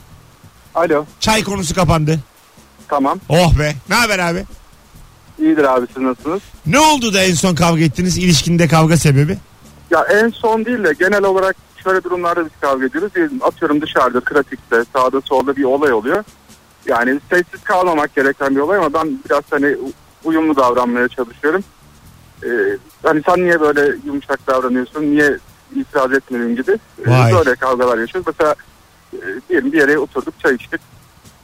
[SPEAKER 7] Alo
[SPEAKER 2] Çay konusu kapandı.
[SPEAKER 7] tamam
[SPEAKER 2] Oh be. Ne haber abi?
[SPEAKER 7] iyidir abi siz nasılsınız?
[SPEAKER 2] Ne oldu da en son kavga ettiniz? İlişkinde kavga sebebi?
[SPEAKER 7] Ya en son değil de genel olarak şöyle durumlarda biz kavga ediyoruz. Diyelim, Atıyorum dışarıda trafikte sağda solda bir olay oluyor. Yani sessiz kalmamak gereken bir olay ama ben biraz hani uyumlu davranmaya çalışıyorum. Ee, hani sen niye böyle yumuşak davranıyorsun, niye itiraz etmedin gibi Ee,
[SPEAKER 2] Vay.
[SPEAKER 7] böyle kavgalar yaşıyoruz. Mesela e, diyelim bir yere oturduk çay içtik.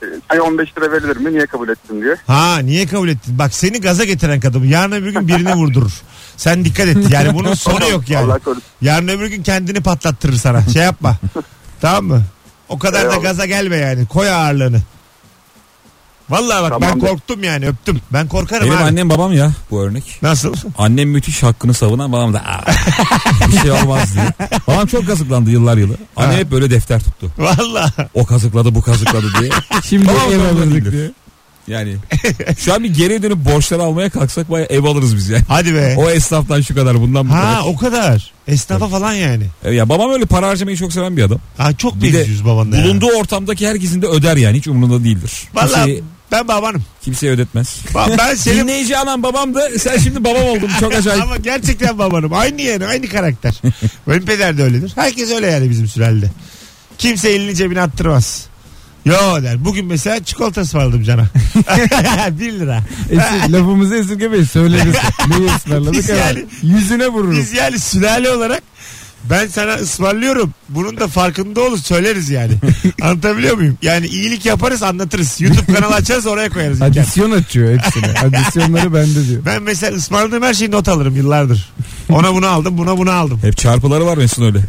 [SPEAKER 7] Ee, Çay 15 lira verilir mi niye kabul ettin diye.
[SPEAKER 2] Ha niye kabul ettin? Bak seni gaza getiren kadın yarın öbür gün birini vurdurur. Sen dikkat et. Yani
[SPEAKER 7] [laughs]
[SPEAKER 2] bunun sonu yok yani.
[SPEAKER 7] Allah korusun.
[SPEAKER 2] Yarın öbür gün kendini patlattırır sana. Şey
[SPEAKER 7] [laughs]
[SPEAKER 2] yapma. tamam mı? O kadar da
[SPEAKER 7] Eyvallah.
[SPEAKER 2] gaza gelme yani. Koy ağırlığını. Vallahi bak ben
[SPEAKER 7] Tamamdır.
[SPEAKER 2] korktum yani öptüm. Ben korkarım
[SPEAKER 3] Benim
[SPEAKER 2] abi.
[SPEAKER 3] annem babam ya bu örnek.
[SPEAKER 2] Nasıl?
[SPEAKER 3] Annem müthiş hakkını savunan babam da "Aa, bir şey olmaz diye. Babam çok kazıklandı yıllar yılı. Anne
[SPEAKER 2] Ha.
[SPEAKER 3] hep böyle defter tuttu.
[SPEAKER 2] [laughs] Vallahi.
[SPEAKER 3] O kazıkladı bu kazıkladı
[SPEAKER 2] [laughs]
[SPEAKER 3] diye.
[SPEAKER 4] Şimdi
[SPEAKER 3] Tamam,
[SPEAKER 4] ev
[SPEAKER 3] tamam,
[SPEAKER 4] alırdık
[SPEAKER 3] olabilir.
[SPEAKER 4] diyor.
[SPEAKER 3] Yani şu an bir geri dönüp borçları almaya kalksak baya ev alırız biz yani.
[SPEAKER 2] Hadi be.
[SPEAKER 3] O esnaftan şu kadar bundan bu
[SPEAKER 2] Ha
[SPEAKER 3] kadar.
[SPEAKER 2] o kadar. Esnafa falan yani.
[SPEAKER 3] E, Ya babam öyle para harcamayı çok seven bir adam.
[SPEAKER 2] Ha çok
[SPEAKER 3] Bir de
[SPEAKER 2] benziyoruz babanla ya.
[SPEAKER 3] Bulunduğu şey- ortamdaki herkesin de öder yani hiç umurunda değildir.
[SPEAKER 2] Vallahi
[SPEAKER 3] Kimseyi,
[SPEAKER 2] ben babanım.
[SPEAKER 3] kimseye ödetmez.
[SPEAKER 2] Ba- Ben senin
[SPEAKER 3] Dinleyici anam babam da sen şimdi babam oldun çok acayip.
[SPEAKER 2] [laughs] ama gerçekten babanım. Aynı yani aynı karakter. Benim peder de öyledir. Herkes öyle yani bizim sülalede. Kimse elini cebine attırmaz. Yo der. Bugün mesela çikolata ısmarladım cana. [laughs] 1 lira.
[SPEAKER 4] Esir, E lafımızı esirgemeyin söyleriz. Neyi ısmarladık
[SPEAKER 2] Biz
[SPEAKER 4] ama
[SPEAKER 2] yani-
[SPEAKER 4] yüzüne vururum.
[SPEAKER 2] Biz yani sülale olarak ben sana ısmarlıyorum. Bunun da farkında olur söyleriz yani. Anlatabiliyor muyum? Yani iyilik yaparız anlatırız. YouTube kanalı açarız oraya koyarız. imkan.
[SPEAKER 4] Adisyon açıyor hepsini. Adisyonları bende diyor.
[SPEAKER 2] Ben mesela ısmarladığım her şeyi not alırım yıllardır. Ona bunu aldım, buna bunu aldım. [laughs]
[SPEAKER 3] Hep çarpıları var Mesut öyle.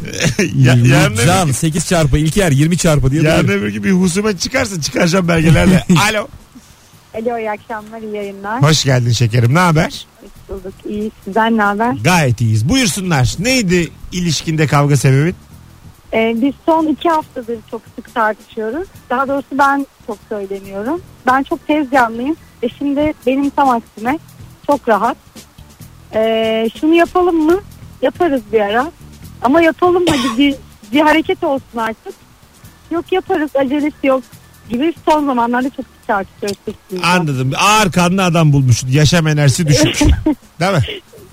[SPEAKER 2] ya, yarın öbür-
[SPEAKER 3] Can 8 çarpı İlker 20 çarpı diye.
[SPEAKER 2] yarın
[SPEAKER 3] duruyor.
[SPEAKER 2] öbür gün bir husumet çıkarsa çıkaracağım [laughs] belgelerle. Alo.
[SPEAKER 6] Alo iyi akşamlar iyi yayınlar.
[SPEAKER 2] Hoş geldin şekerim. Ne haber?
[SPEAKER 6] Hoş bulduk. İyi sizden ne haber?
[SPEAKER 2] Gayet iyiyiz. Buyursunlar. Neydi ilişkinde kavga sebebin?
[SPEAKER 6] Ee, biz son iki haftadır çok sık tartışıyoruz. Daha doğrusu ben çok söyleniyorum. Ben çok tez canlıyım. E şimdi benim tam aksine çok rahat. Ee, şunu yapalım mı? Yaparız bir ara. Ama yapalım hadi bir, bir hareket olsun artık. Yok yaparız acelesi yok gibi son zamanlarda çok sık tartışıyoruz. kesinlikle.
[SPEAKER 2] Anladım. Ağır kanlı adam bulmuşsun. Yaşam enerjisi düşük. Değil mi?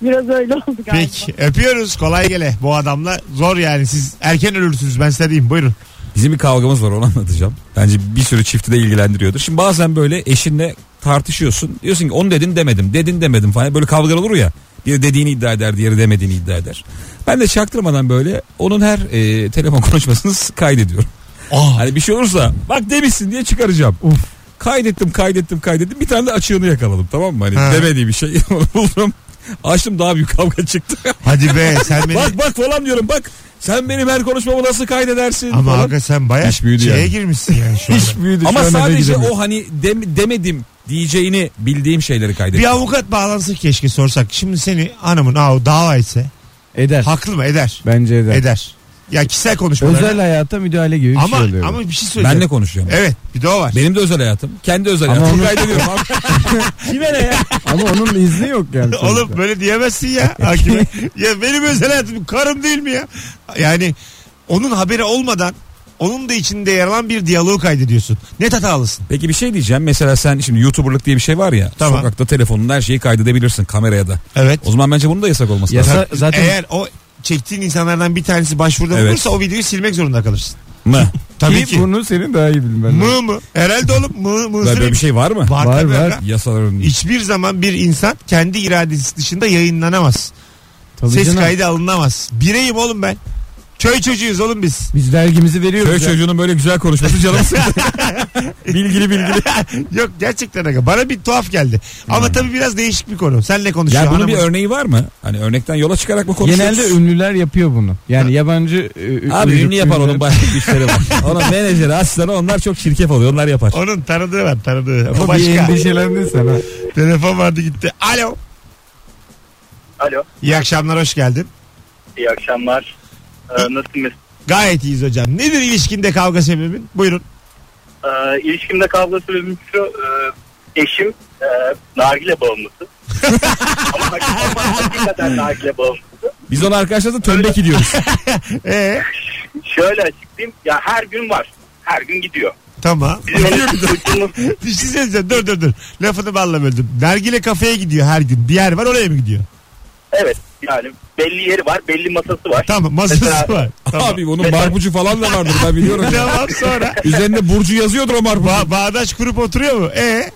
[SPEAKER 6] Biraz öyle oldu galiba.
[SPEAKER 2] Peki. Öpüyoruz. Kolay gele. Bu adamla zor yani. Siz erken ölürsünüz. Ben size diyeyim. Buyurun.
[SPEAKER 3] Bizim bir kavgamız var onu anlatacağım. Bence bir sürü çifti de ilgilendiriyordur. Şimdi bazen böyle eşinle tartışıyorsun. Diyorsun ki onu dedin demedim. Dedin demedim falan. Böyle kavga olur ya. Biri dediğini iddia eder diğeri demediğini iddia eder. Ben de çaktırmadan böyle onun her e, telefon [laughs] konuşmasını s- kaydediyorum.
[SPEAKER 2] Aa,
[SPEAKER 3] Hani bir şey olursa bak demişsin diye çıkaracağım.
[SPEAKER 4] Uf.
[SPEAKER 3] Kaydettim kaydettim kaydettim. Bir tane de açığını yakaladım tamam mı? Hani
[SPEAKER 2] Ha.
[SPEAKER 3] demediği bir şey [laughs] onu buldum. Açtım daha büyük kavga çıktı. [laughs]
[SPEAKER 2] hadi be sen beni...
[SPEAKER 3] bak bak falan diyorum bak. Sen benim her konuşmamı nasıl kaydedersin
[SPEAKER 2] Ama
[SPEAKER 3] falan.
[SPEAKER 2] hakikaten sen bayağı
[SPEAKER 3] İş büyüdü
[SPEAKER 2] şeye
[SPEAKER 3] yani.
[SPEAKER 2] girmişsin yani şu anda.
[SPEAKER 4] İş büyüdü.
[SPEAKER 3] Ama
[SPEAKER 4] şu an eve
[SPEAKER 3] sadece
[SPEAKER 4] gidemiyorum.
[SPEAKER 3] o hani dem- demedim diyeceğini bildiğim şeyleri kaydettim.
[SPEAKER 2] Bir avukat bağlansak keşke sorsak. Şimdi seni hanımın av dava etse
[SPEAKER 4] Eder.
[SPEAKER 2] haklı mı eder?
[SPEAKER 4] Bence eder.
[SPEAKER 2] Eder. Ya kişisel konuşmalar.
[SPEAKER 4] Özel hayata müdahale gibi bir
[SPEAKER 2] ama
[SPEAKER 4] şey oluyor.
[SPEAKER 2] ama bir şey söyleyeceğim.
[SPEAKER 3] Benle konuşacağım.
[SPEAKER 2] Evet, bir de o var.
[SPEAKER 3] Benim de özel hayatım. Kendi özel
[SPEAKER 4] Ama
[SPEAKER 3] hayatımı
[SPEAKER 4] onu-
[SPEAKER 3] kaydediyorum abi. Kime ne ya?
[SPEAKER 4] Ama onun izni yok yani. sonuçta.
[SPEAKER 2] [laughs] [laughs] Oğlum böyle diyemezsin ya hakime. ya benim özel hayatım karım değil mi ya? Yani onun haberi olmadan onun da içinde yer alan bir diyaloğu kaydediyorsun. Ne hatalısın.
[SPEAKER 3] Peki bir şey diyeceğim. Mesela sen şimdi YouTuber'lık diye bir şey var ya.
[SPEAKER 2] Tamam.
[SPEAKER 3] Sokakta telefonunda her şeyi kaydedebilirsin kameraya da.
[SPEAKER 2] Evet.
[SPEAKER 3] O zaman bence bunun da yasak olması lazım.
[SPEAKER 4] Yasa zaten
[SPEAKER 2] Eğer o çektiğin insanlardan bir tanesi başvuruda
[SPEAKER 3] Evet.
[SPEAKER 2] bulursa o videoyu silmek zorunda kalırsın.
[SPEAKER 3] Mı?
[SPEAKER 2] Tabii
[SPEAKER 4] ki
[SPEAKER 2] ki.
[SPEAKER 4] bunu senin daha iyi bilmen lazım.
[SPEAKER 2] Mı mı? Herhalde oğlum mı mı?
[SPEAKER 3] Böyle böyle bir şey var mı?
[SPEAKER 2] Var,
[SPEAKER 4] Var,
[SPEAKER 2] tabii
[SPEAKER 4] var.
[SPEAKER 2] ya.
[SPEAKER 3] Yasaların.
[SPEAKER 2] Hiçbir zaman bir insan kendi iradesi dışında yayınlanamaz.
[SPEAKER 4] Tabii
[SPEAKER 2] Ses
[SPEAKER 4] canım.
[SPEAKER 2] kaydı alınamaz. Bireyim oğlum ben. Köy çocuğuyuz oğlum biz.
[SPEAKER 4] Biz vergimizi
[SPEAKER 3] Köy
[SPEAKER 4] veriyoruz. ya.
[SPEAKER 3] çocuğunun böyle güzel konuşması canım sıktı.
[SPEAKER 2] [laughs]
[SPEAKER 3] Bilgili bilgili. Hmm.
[SPEAKER 2] Yok gerçekten aga. Bana bir tuhaf geldi. Ama tabii biraz değişik bir konu. Senle konuşuyor.
[SPEAKER 3] ya bunun bir
[SPEAKER 2] hanımız.
[SPEAKER 3] örneği var mı? Hani örnekten yola çıkarak mı konuşuyoruz?
[SPEAKER 4] Genelde ünlüler yapıyor bunu. Yani yabancı e,
[SPEAKER 3] Abi
[SPEAKER 4] uyruk
[SPEAKER 3] ünlü yapar onun
[SPEAKER 4] ünlüler- [laughs]
[SPEAKER 3] başka güçleri var. [laughs] Onun menajeri asistanı onlar çok çirkef oluyor. Onlar yapar.
[SPEAKER 2] Onun tanıdığı var tanıdığı. Ama
[SPEAKER 4] Ama
[SPEAKER 2] başka.
[SPEAKER 4] Bir endişelendin sen ha.
[SPEAKER 2] Telefon vardı gitti. Alo.
[SPEAKER 10] Alo
[SPEAKER 2] İyi akşamlar hoş geldin.
[SPEAKER 10] iyi akşamlar. Ee, nasılsınız?
[SPEAKER 2] Gayet iyiyiz hocam. Nedir ilişkinde kavga sebebin? Buyurun.
[SPEAKER 10] Ee, ilişkimde kavga sebebim şu. e, eşim e,
[SPEAKER 2] [laughs]
[SPEAKER 10] nargile bağımlısı. ama, hak- ama hakikaten nargile bağımlısı.
[SPEAKER 3] Biz ona arkadaşlarla tömbeki diyoruz.
[SPEAKER 2] Ee,
[SPEAKER 10] Şöyle açıklayayım. Ya her gün var. Her gün gidiyor.
[SPEAKER 2] tamam. [laughs]
[SPEAKER 10] Bizim öyle bir çocuğumuz-
[SPEAKER 2] bir şey söyleyeceğim. Dur dur dur. Lafını balla böldüm. Nergile kafeye gidiyor her gün. Bir yer var oraya mı gidiyor?
[SPEAKER 10] evet yani belli yeri var. Belli masası var.
[SPEAKER 2] Tamam masası
[SPEAKER 10] Mesela-
[SPEAKER 2] var. Tamam.
[SPEAKER 3] Abi bunun marpucu falan da vardır ben biliyorum. ya.
[SPEAKER 2] Tamam sonra.
[SPEAKER 3] Üzerinde Burcu yazıyordur o marpucu.
[SPEAKER 2] Ba- bağdaş kurup oturuyor mu? Ee,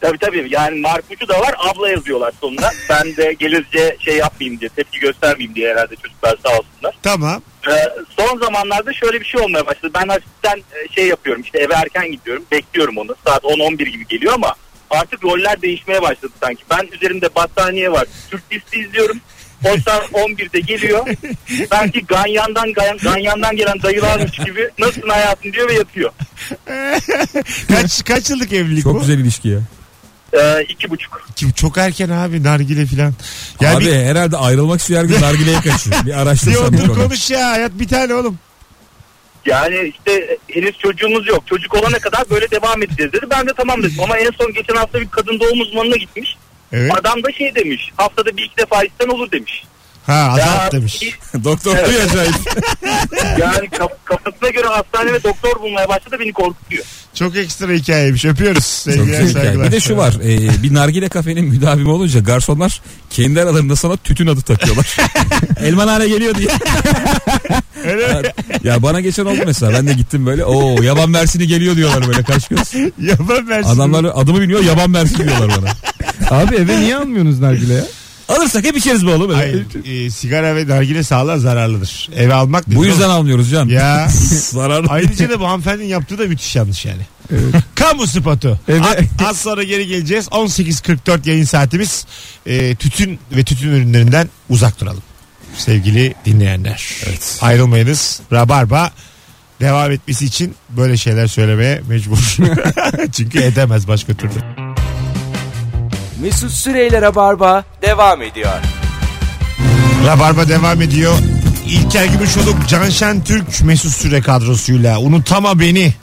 [SPEAKER 10] Tabii tabii yani marpucu da var. Abla yazıyorlar sonuna. ben de gelirce şey yapmayayım diye. Tepki göstermeyeyim diye herhalde çocuklar sağ olsunlar.
[SPEAKER 2] tamam.
[SPEAKER 10] Ee, son zamanlarda şöyle bir şey olmaya başladı. Ben hafiften e, şey yapıyorum işte eve erken gidiyorum. Bekliyorum onu. Saat 10-11 gibi geliyor ama artık roller değişmeye başladı sanki. Ben üzerimde battaniye var. Türk dizisi izliyorum. O saat 11'de geliyor. Sanki ganyandan ganyan- ganyandan gelen dayılarmış gibi nasılsın hayatım diyor ve yatıyor.
[SPEAKER 2] [laughs] kaç kaç yıllık evlilik
[SPEAKER 3] Çok
[SPEAKER 2] bu?
[SPEAKER 3] güzel ilişki ya.
[SPEAKER 10] Ee, iki buçuk.
[SPEAKER 2] Kim- çok erken abi nargile filan. Ya
[SPEAKER 3] Abi
[SPEAKER 2] bir,
[SPEAKER 3] herhalde ayrılmak istiyor her gün nargileye kaçıyor. Bir
[SPEAKER 2] bir
[SPEAKER 3] araştırsam bir
[SPEAKER 2] otur
[SPEAKER 3] konu.
[SPEAKER 2] konuş ya hayat bir tane oğlum.
[SPEAKER 10] Yani işte e, henüz çocuğumuz yok. Çocuk olana kadar böyle devam edeceğiz dedi. Ben de tamam dedim. Ama en son geçen hafta bir kadın doğum uzmanına gitmiş.
[SPEAKER 2] Evet.
[SPEAKER 10] Adam da şey demiş. Haftada bir iki defa isten olur demiş.
[SPEAKER 2] Ha azap
[SPEAKER 10] Ya,
[SPEAKER 2] demiş.
[SPEAKER 3] [laughs] Doktor
[SPEAKER 10] Evet.
[SPEAKER 3] diyor acayip.
[SPEAKER 10] [laughs] Yani kaf- kafasına göre hastane ve doktor bulmaya başladı beni korkutuyor.
[SPEAKER 2] Çok ekstra hikayeymiş. Öpüyoruz.
[SPEAKER 3] Çok
[SPEAKER 2] Sevgiler
[SPEAKER 3] güzel hikaye.
[SPEAKER 2] saygılar.
[SPEAKER 3] Bir de şu var. e, bir nargile kafenin müdavimi olunca garsonlar kendi aralarında sana tütün adı takıyorlar. [laughs] Elmanhane geliyor diye.
[SPEAKER 2] Öyle mi?
[SPEAKER 3] Ya bana geçen oldu mesela. Ben de gittim böyle. Oo yaban mersini geliyor diyorlar böyle kaç göz.
[SPEAKER 2] Yaban versin.
[SPEAKER 3] Adamlar adımı bilmiyor yaban mersini diyorlar bana.
[SPEAKER 4] Abi eve niye almıyorsunuz
[SPEAKER 3] [laughs]
[SPEAKER 4] nargile ya?
[SPEAKER 3] Alırsak hep içeriz bu oğlum.
[SPEAKER 2] Hayır, e, sigara ve nargile sağlığa zararlıdır. Eve almak
[SPEAKER 3] Bu
[SPEAKER 2] değil,
[SPEAKER 3] yüzden almıyoruz can. [laughs]
[SPEAKER 2] Ya. şey
[SPEAKER 3] Zararlı.
[SPEAKER 2] Ayrıca da bu hanımefendinin yaptığı da müthiş yanlış yani. [laughs] Kamu spotu.
[SPEAKER 4] Evet.
[SPEAKER 2] A- Az sonra geri geleceğiz. 18.44 yayın saatimiz. E, tütün ve tütün ürünlerinden uzak duralım. Sevgili dinleyenler. Ayrılmayınız. Rabarba devam etmesi için böyle şeyler söylemeye mecbur. [laughs] Çünkü edemez başka türlü.
[SPEAKER 1] Mesut Süreyler'e barba devam ediyor.
[SPEAKER 2] Rabarba devam ediyor. İlker Gümüşoluk, Can Şentürk, Mesut Süre kadrosuyla Unutama Beni.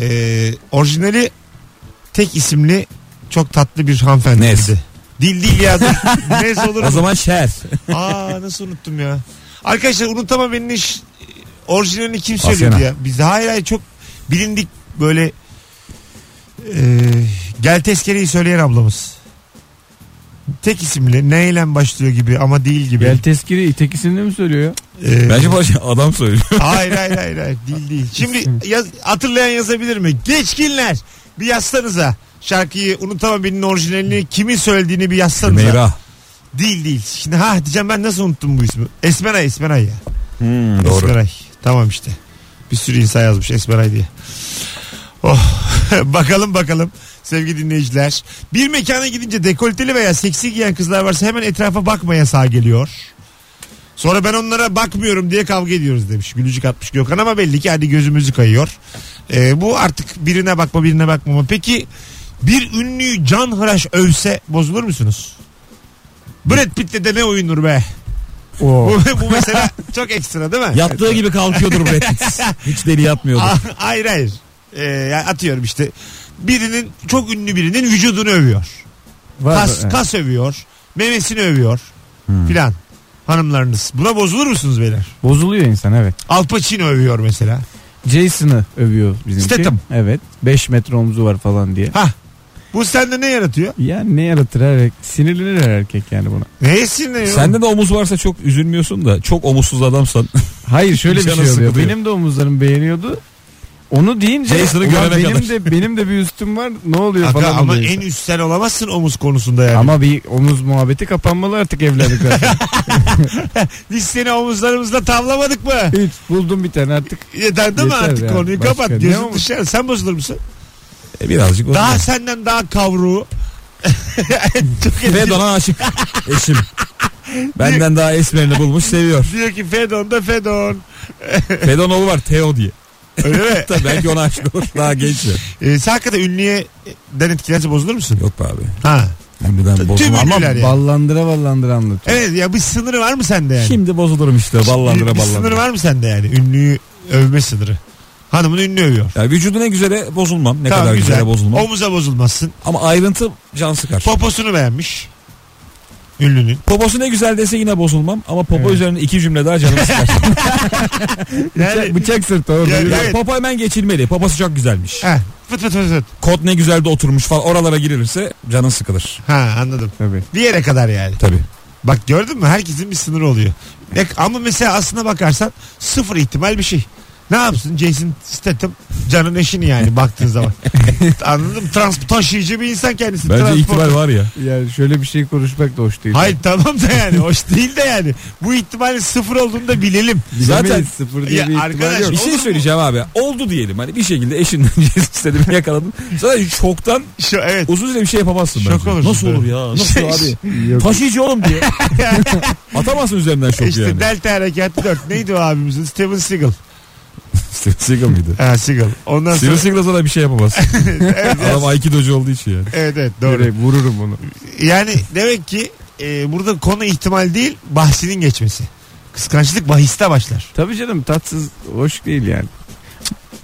[SPEAKER 2] Ee, orijinali tek isimli çok tatlı bir hanımefendiydi.
[SPEAKER 3] Nez.
[SPEAKER 2] Dil
[SPEAKER 3] [laughs]
[SPEAKER 2] değil ya. Nez olur
[SPEAKER 3] O
[SPEAKER 2] mu?
[SPEAKER 3] zaman şer.
[SPEAKER 2] Aa nasıl unuttum ya. Arkadaşlar Unutama Beni'nin ş- orijinalini kim
[SPEAKER 3] Asena.
[SPEAKER 2] söylüyordu ya? Biz hayır hayır çok bilindik böyle e, gel tezkereyi söyleyen ablamız. Tek isimli neyle başlıyor gibi ama değil gibi.
[SPEAKER 4] Gel tezkiri tekisinde mi söylüyor ya?
[SPEAKER 2] Ee,
[SPEAKER 3] Bence bu şey adam söylüyor. [laughs]
[SPEAKER 2] hayır hayır hayır hayır değil değil. Şimdi yaz, hatırlayan yazabilir mi? Geçkinler bir yazsanıza. Şarkıyı unutamam benim orijinalini kimin söylediğini bir yazsanıza.
[SPEAKER 3] Meyra.
[SPEAKER 2] Değil değil. Şimdi ha diyeceğim ben nasıl unuttum bu ismi? Esmeray Esmeray ya.
[SPEAKER 3] doğru.
[SPEAKER 2] Esmeray. Tamam işte. Bir sürü insan yazmış Esmeray diye. Oh. [laughs] bakalım bakalım sevgili dinleyiciler. Bir mekana gidince dekolteli veya seksi giyen kızlar varsa hemen etrafa bakmaya sağ geliyor. Sonra ben onlara bakmıyorum diye kavga ediyoruz demiş. Gülücük atmış Gökhan ama belli ki hadi gözümüzü kayıyor. Ee, bu artık birine bakma birine bakmama. Peki bir ünlüyü can hıraş övse bozulur musunuz? Brad Pitt'le de ne oyunur be?
[SPEAKER 4] Oo.
[SPEAKER 2] Bu, bu mesela
[SPEAKER 4] [laughs]
[SPEAKER 2] çok ekstra değil mi?
[SPEAKER 3] Yattığı gibi kalkıyordur Brad Pitt. [laughs] Hiç deli yatmıyordur.
[SPEAKER 2] A- hayır hayır. Ee, yani atıyorum işte birinin çok ünlü birinin vücudunu övüyor.
[SPEAKER 4] Var Hmm.
[SPEAKER 2] Kas,
[SPEAKER 4] da-
[SPEAKER 2] kas övüyor. Memesini övüyor. Filan. Hanımlarınız. Buna bozulur musunuz beyler?
[SPEAKER 4] Bozuluyor insan evet.
[SPEAKER 2] Al Pacino övüyor mesela.
[SPEAKER 4] Jason'ı övüyor bizimki.
[SPEAKER 2] Statham.
[SPEAKER 4] Evet. 5 metre omzu var falan diye.
[SPEAKER 2] Ha. Bu sende ne yaratıyor?
[SPEAKER 4] Yani ne yaratır her sinirlenir her erkek yani buna.
[SPEAKER 2] Neye sinirleniyor?
[SPEAKER 3] Sende de omuz varsa çok üzülmüyorsun da çok omuzsuz adamsan. [laughs]
[SPEAKER 4] Hayır şöyle bir
[SPEAKER 3] Canı
[SPEAKER 4] şey oluyor.
[SPEAKER 3] sıkılıyor.
[SPEAKER 4] Benim de omuzlarım beğeniyordu. Onu deyince
[SPEAKER 3] Jason'ı
[SPEAKER 4] "Ulan
[SPEAKER 3] görene
[SPEAKER 4] benim
[SPEAKER 3] kadar."
[SPEAKER 4] de benim de bir üstüm var. Ne oluyor
[SPEAKER 2] Aga,
[SPEAKER 4] falan
[SPEAKER 2] ama
[SPEAKER 4] oluyor
[SPEAKER 2] en
[SPEAKER 4] insan.
[SPEAKER 2] üstten olamazsın omuz konusunda yani.
[SPEAKER 4] Ama bir omuz muhabbeti kapanmalı artık evlendikten sonra.
[SPEAKER 2] Biz seni omuzlarımızla tavlamadık mı?
[SPEAKER 4] [laughs] Hiç buldum bir tane artık.
[SPEAKER 2] Yeter değil mi
[SPEAKER 4] Yeter
[SPEAKER 2] artık
[SPEAKER 4] ya,
[SPEAKER 2] konuyu
[SPEAKER 4] başka
[SPEAKER 2] kapat.
[SPEAKER 4] ne
[SPEAKER 2] Gözün
[SPEAKER 4] omuz?
[SPEAKER 2] dışarı. Sen bozulur musun?
[SPEAKER 3] E, birazcık o
[SPEAKER 2] Daha senden daha kavruğu. [laughs] Çok
[SPEAKER 3] Ve
[SPEAKER 2] eski.
[SPEAKER 3] dona aşık eşim. Benden daha esmerini bulmuş seviyor.
[SPEAKER 2] Diyor ki Fedon da Fedon.
[SPEAKER 3] Fedonoğlu var Teo diye.
[SPEAKER 2] Öyle mi?
[SPEAKER 3] [laughs] Tabii belki ona aşık olur. Daha genç. ya.
[SPEAKER 2] Ee, sen hakikaten ünlüyeden etkilense bozulur musun?
[SPEAKER 3] Yok be abi.
[SPEAKER 2] Ha.
[SPEAKER 3] Hem de ben
[SPEAKER 2] Tüm
[SPEAKER 3] bozulmam.
[SPEAKER 2] ünlüler yani.
[SPEAKER 4] Ballandıra ballandıra anlatıyor.
[SPEAKER 2] Evet ya bir sınırı var mı sende yani?
[SPEAKER 3] Şimdi bozulurum işte ballandıra
[SPEAKER 2] bir, bir sınırı
[SPEAKER 3] ballandıra.
[SPEAKER 2] var mı sende yani? Ünlüyü övme sınırı. Hanımını ünlü övüyor.
[SPEAKER 3] Ya vücudu ne güzele bozulmam. Ne
[SPEAKER 2] Tamam,
[SPEAKER 3] kadar güzele bozulmam.
[SPEAKER 2] Omuza bozulmazsın.
[SPEAKER 3] Ama ayrıntı can sıkar.
[SPEAKER 2] Poposunu beğenmiş. Ünlünün.
[SPEAKER 3] Poposu ne güzel dese yine bozulmam. Ama popo üzerine iki cümle daha [laughs] canımı sıkar.
[SPEAKER 2] Yani,
[SPEAKER 4] Bıçak sırtı orada.
[SPEAKER 2] Yani-
[SPEAKER 4] yürü.
[SPEAKER 2] Evet.
[SPEAKER 3] Popo hemen geçilmeli. Poposu çok güzelmiş.
[SPEAKER 2] ha, fıt fıt fıt fıt.
[SPEAKER 3] Kot ne güzel de oturmuş falan. Oralara girilirse canın sıkılır.
[SPEAKER 2] Ha anladım.
[SPEAKER 4] Tabii.
[SPEAKER 2] Bir yere kadar yani.
[SPEAKER 3] Tabii.
[SPEAKER 2] Bak gördün mü herkesin bir sınırı oluyor. Ne- ama mesela aslına bakarsan sıfır ihtimal bir şey. Ne yapsın Jason Statham canın eşini yani
[SPEAKER 3] [laughs]
[SPEAKER 2] baktığın zaman. Anladım trans taşıyıcı bir insan kendisi.
[SPEAKER 3] Bence
[SPEAKER 2] Transport-
[SPEAKER 3] ihtimal var ya.
[SPEAKER 4] Yani şöyle bir şey konuşmak da hoş değil.
[SPEAKER 2] Hayır tamam da yani hoş değil de yani. Bu ihtimalin sıfır olduğunu da bilelim.
[SPEAKER 4] Bilemeyiz,
[SPEAKER 3] zaten-
[SPEAKER 4] sıfır
[SPEAKER 2] Ya
[SPEAKER 4] diye bir ihtimal
[SPEAKER 2] arkadaş-
[SPEAKER 4] yok.
[SPEAKER 3] Bir şey söyleyeceğim abi. Oldu diyelim hani bir şekilde eşinden [laughs] istedim yakaladım. Zaten şoktan
[SPEAKER 2] Şu, evet.
[SPEAKER 3] uzun süre bir şey yapamazsın
[SPEAKER 2] Şok
[SPEAKER 3] bence.
[SPEAKER 2] olursun
[SPEAKER 3] Nasıl
[SPEAKER 2] tabii.
[SPEAKER 3] olur [laughs] ya? Nasıl
[SPEAKER 2] Şey-
[SPEAKER 3] abi?
[SPEAKER 4] Yok.
[SPEAKER 3] Taşıyıcı oğlum [laughs] diye. Atamazsın üzerinden şoku
[SPEAKER 2] İşte
[SPEAKER 3] yani.
[SPEAKER 2] Delta Harekatı 4. Neydi o abimizin? Steven Seagal.
[SPEAKER 3] Steven Seagal mıydı?
[SPEAKER 2] Ha Seagal. Ondan sonra
[SPEAKER 3] Steven Seagal sana bir şey yapamaz. [laughs] Adam Aikidocu olduğu için yani.
[SPEAKER 2] evet evet doğru.
[SPEAKER 4] Direkt vururum onu.
[SPEAKER 2] Yani demek ki e, burada konu ihtimal değil bahsinin geçmesi. Kıskançlık bahiste başlar.
[SPEAKER 4] Tabii canım tatsız hoş değil yani.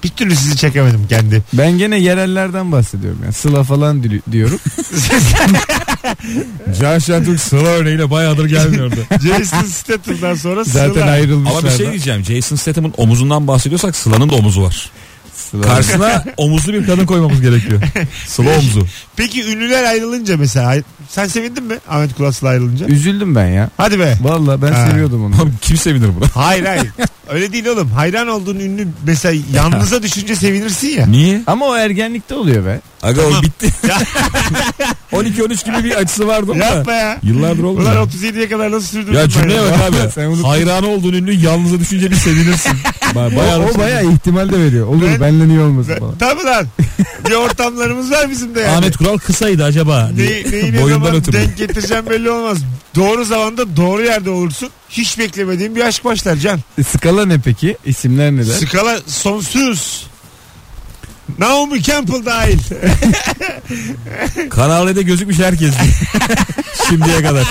[SPEAKER 2] Bir türlü sizi çekemedim
[SPEAKER 3] [laughs]
[SPEAKER 2] kendi.
[SPEAKER 4] Ben gene yerellerden bahsediyorum yani. Sıla falan dili- diyorum.
[SPEAKER 3] Can Şentürk sıra örneğiyle bayağıdır gelmiyordu.
[SPEAKER 2] Jason Statham'dan sonra
[SPEAKER 4] Zaten
[SPEAKER 2] Sıla.
[SPEAKER 4] ayrılmışlar.
[SPEAKER 3] Ama bir şey
[SPEAKER 4] da.
[SPEAKER 3] diyeceğim. Jason Statham'ın omuzundan bahsediyorsak Sıla'nın da omuzu var.
[SPEAKER 4] Sıla-
[SPEAKER 3] Karşısına omuzlu bir kadın koymamız gerekiyor. Sıla omuzu.
[SPEAKER 2] Peki ünlüler ayrılınca mesela sen sevindin mi Ahmet Kulas'la ayrılınca?
[SPEAKER 4] Üzüldüm ben ya.
[SPEAKER 2] Hadi be.
[SPEAKER 4] Valla ben
[SPEAKER 2] Ha.
[SPEAKER 4] seviyordum
[SPEAKER 3] [laughs]
[SPEAKER 4] onu.
[SPEAKER 3] Abi kim sevinir buna?
[SPEAKER 2] Hayır hayır. Öyle değil oğlum. Hayran olduğun ünlü mesela
[SPEAKER 3] [laughs]
[SPEAKER 2] yalnıza düşünce sevinirsin ya.
[SPEAKER 3] Niye?
[SPEAKER 4] Ama o ergenlikte oluyor be.
[SPEAKER 3] Aga
[SPEAKER 2] Tamam.
[SPEAKER 3] o
[SPEAKER 2] [laughs]
[SPEAKER 3] bitti. 12-13 gibi bir açısı vardı ama.
[SPEAKER 2] Yapma ya.
[SPEAKER 3] Yıllardır oldu.
[SPEAKER 2] Ulan
[SPEAKER 3] ya.
[SPEAKER 2] 37'ye kadar nasıl sürdürdün?
[SPEAKER 3] Ya cümleye
[SPEAKER 2] bayramı?
[SPEAKER 3] bak abi. Hayran olduğun ünlü yalnızı düşünce bir sevinirsin. Ba- bayağı
[SPEAKER 4] o, o baya ihtimal de veriyor. Olur
[SPEAKER 2] Ben-
[SPEAKER 4] benle niye olmasın
[SPEAKER 2] Ve-
[SPEAKER 4] falan.
[SPEAKER 2] Tabii lan. Bir ortamlarımız var bizim de yani.
[SPEAKER 3] Ahmet Kural kısaydı acaba.
[SPEAKER 2] Ne,
[SPEAKER 3] diye.
[SPEAKER 2] neyi ne
[SPEAKER 3] Boyundan
[SPEAKER 2] zaman
[SPEAKER 3] ötürü.
[SPEAKER 2] denk getireceğim belli olmaz. Doğru zamanda doğru yerde olursun. Hiç beklemediğin bir aşk başlar Can.
[SPEAKER 4] E, Skala ne peki? İsimler neler?
[SPEAKER 2] Skala sonsuz. Naomi Campbell dahil. [laughs]
[SPEAKER 3] Kanal D'de gözükmüş
[SPEAKER 2] [laughs]
[SPEAKER 3] herkes. Şimdiye kadar.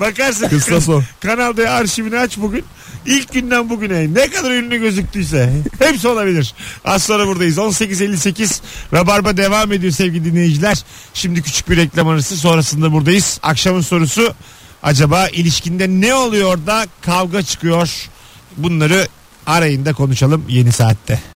[SPEAKER 2] Bakarsın.
[SPEAKER 3] Kısa son.
[SPEAKER 2] Kanal D arşivini aç bugün. İlk günden bugüne ne kadar ünlü gözüktüyse hepsi olabilir. Az sonra buradayız. 18.58 Rabarba devam ediyor sevgili dinleyiciler. Şimdi küçük bir reklam arası sonrasında buradayız. Akşamın sorusu acaba ilişkinde ne oluyor da kavga çıkıyor? Bunları arayın da konuşalım yeni saatte.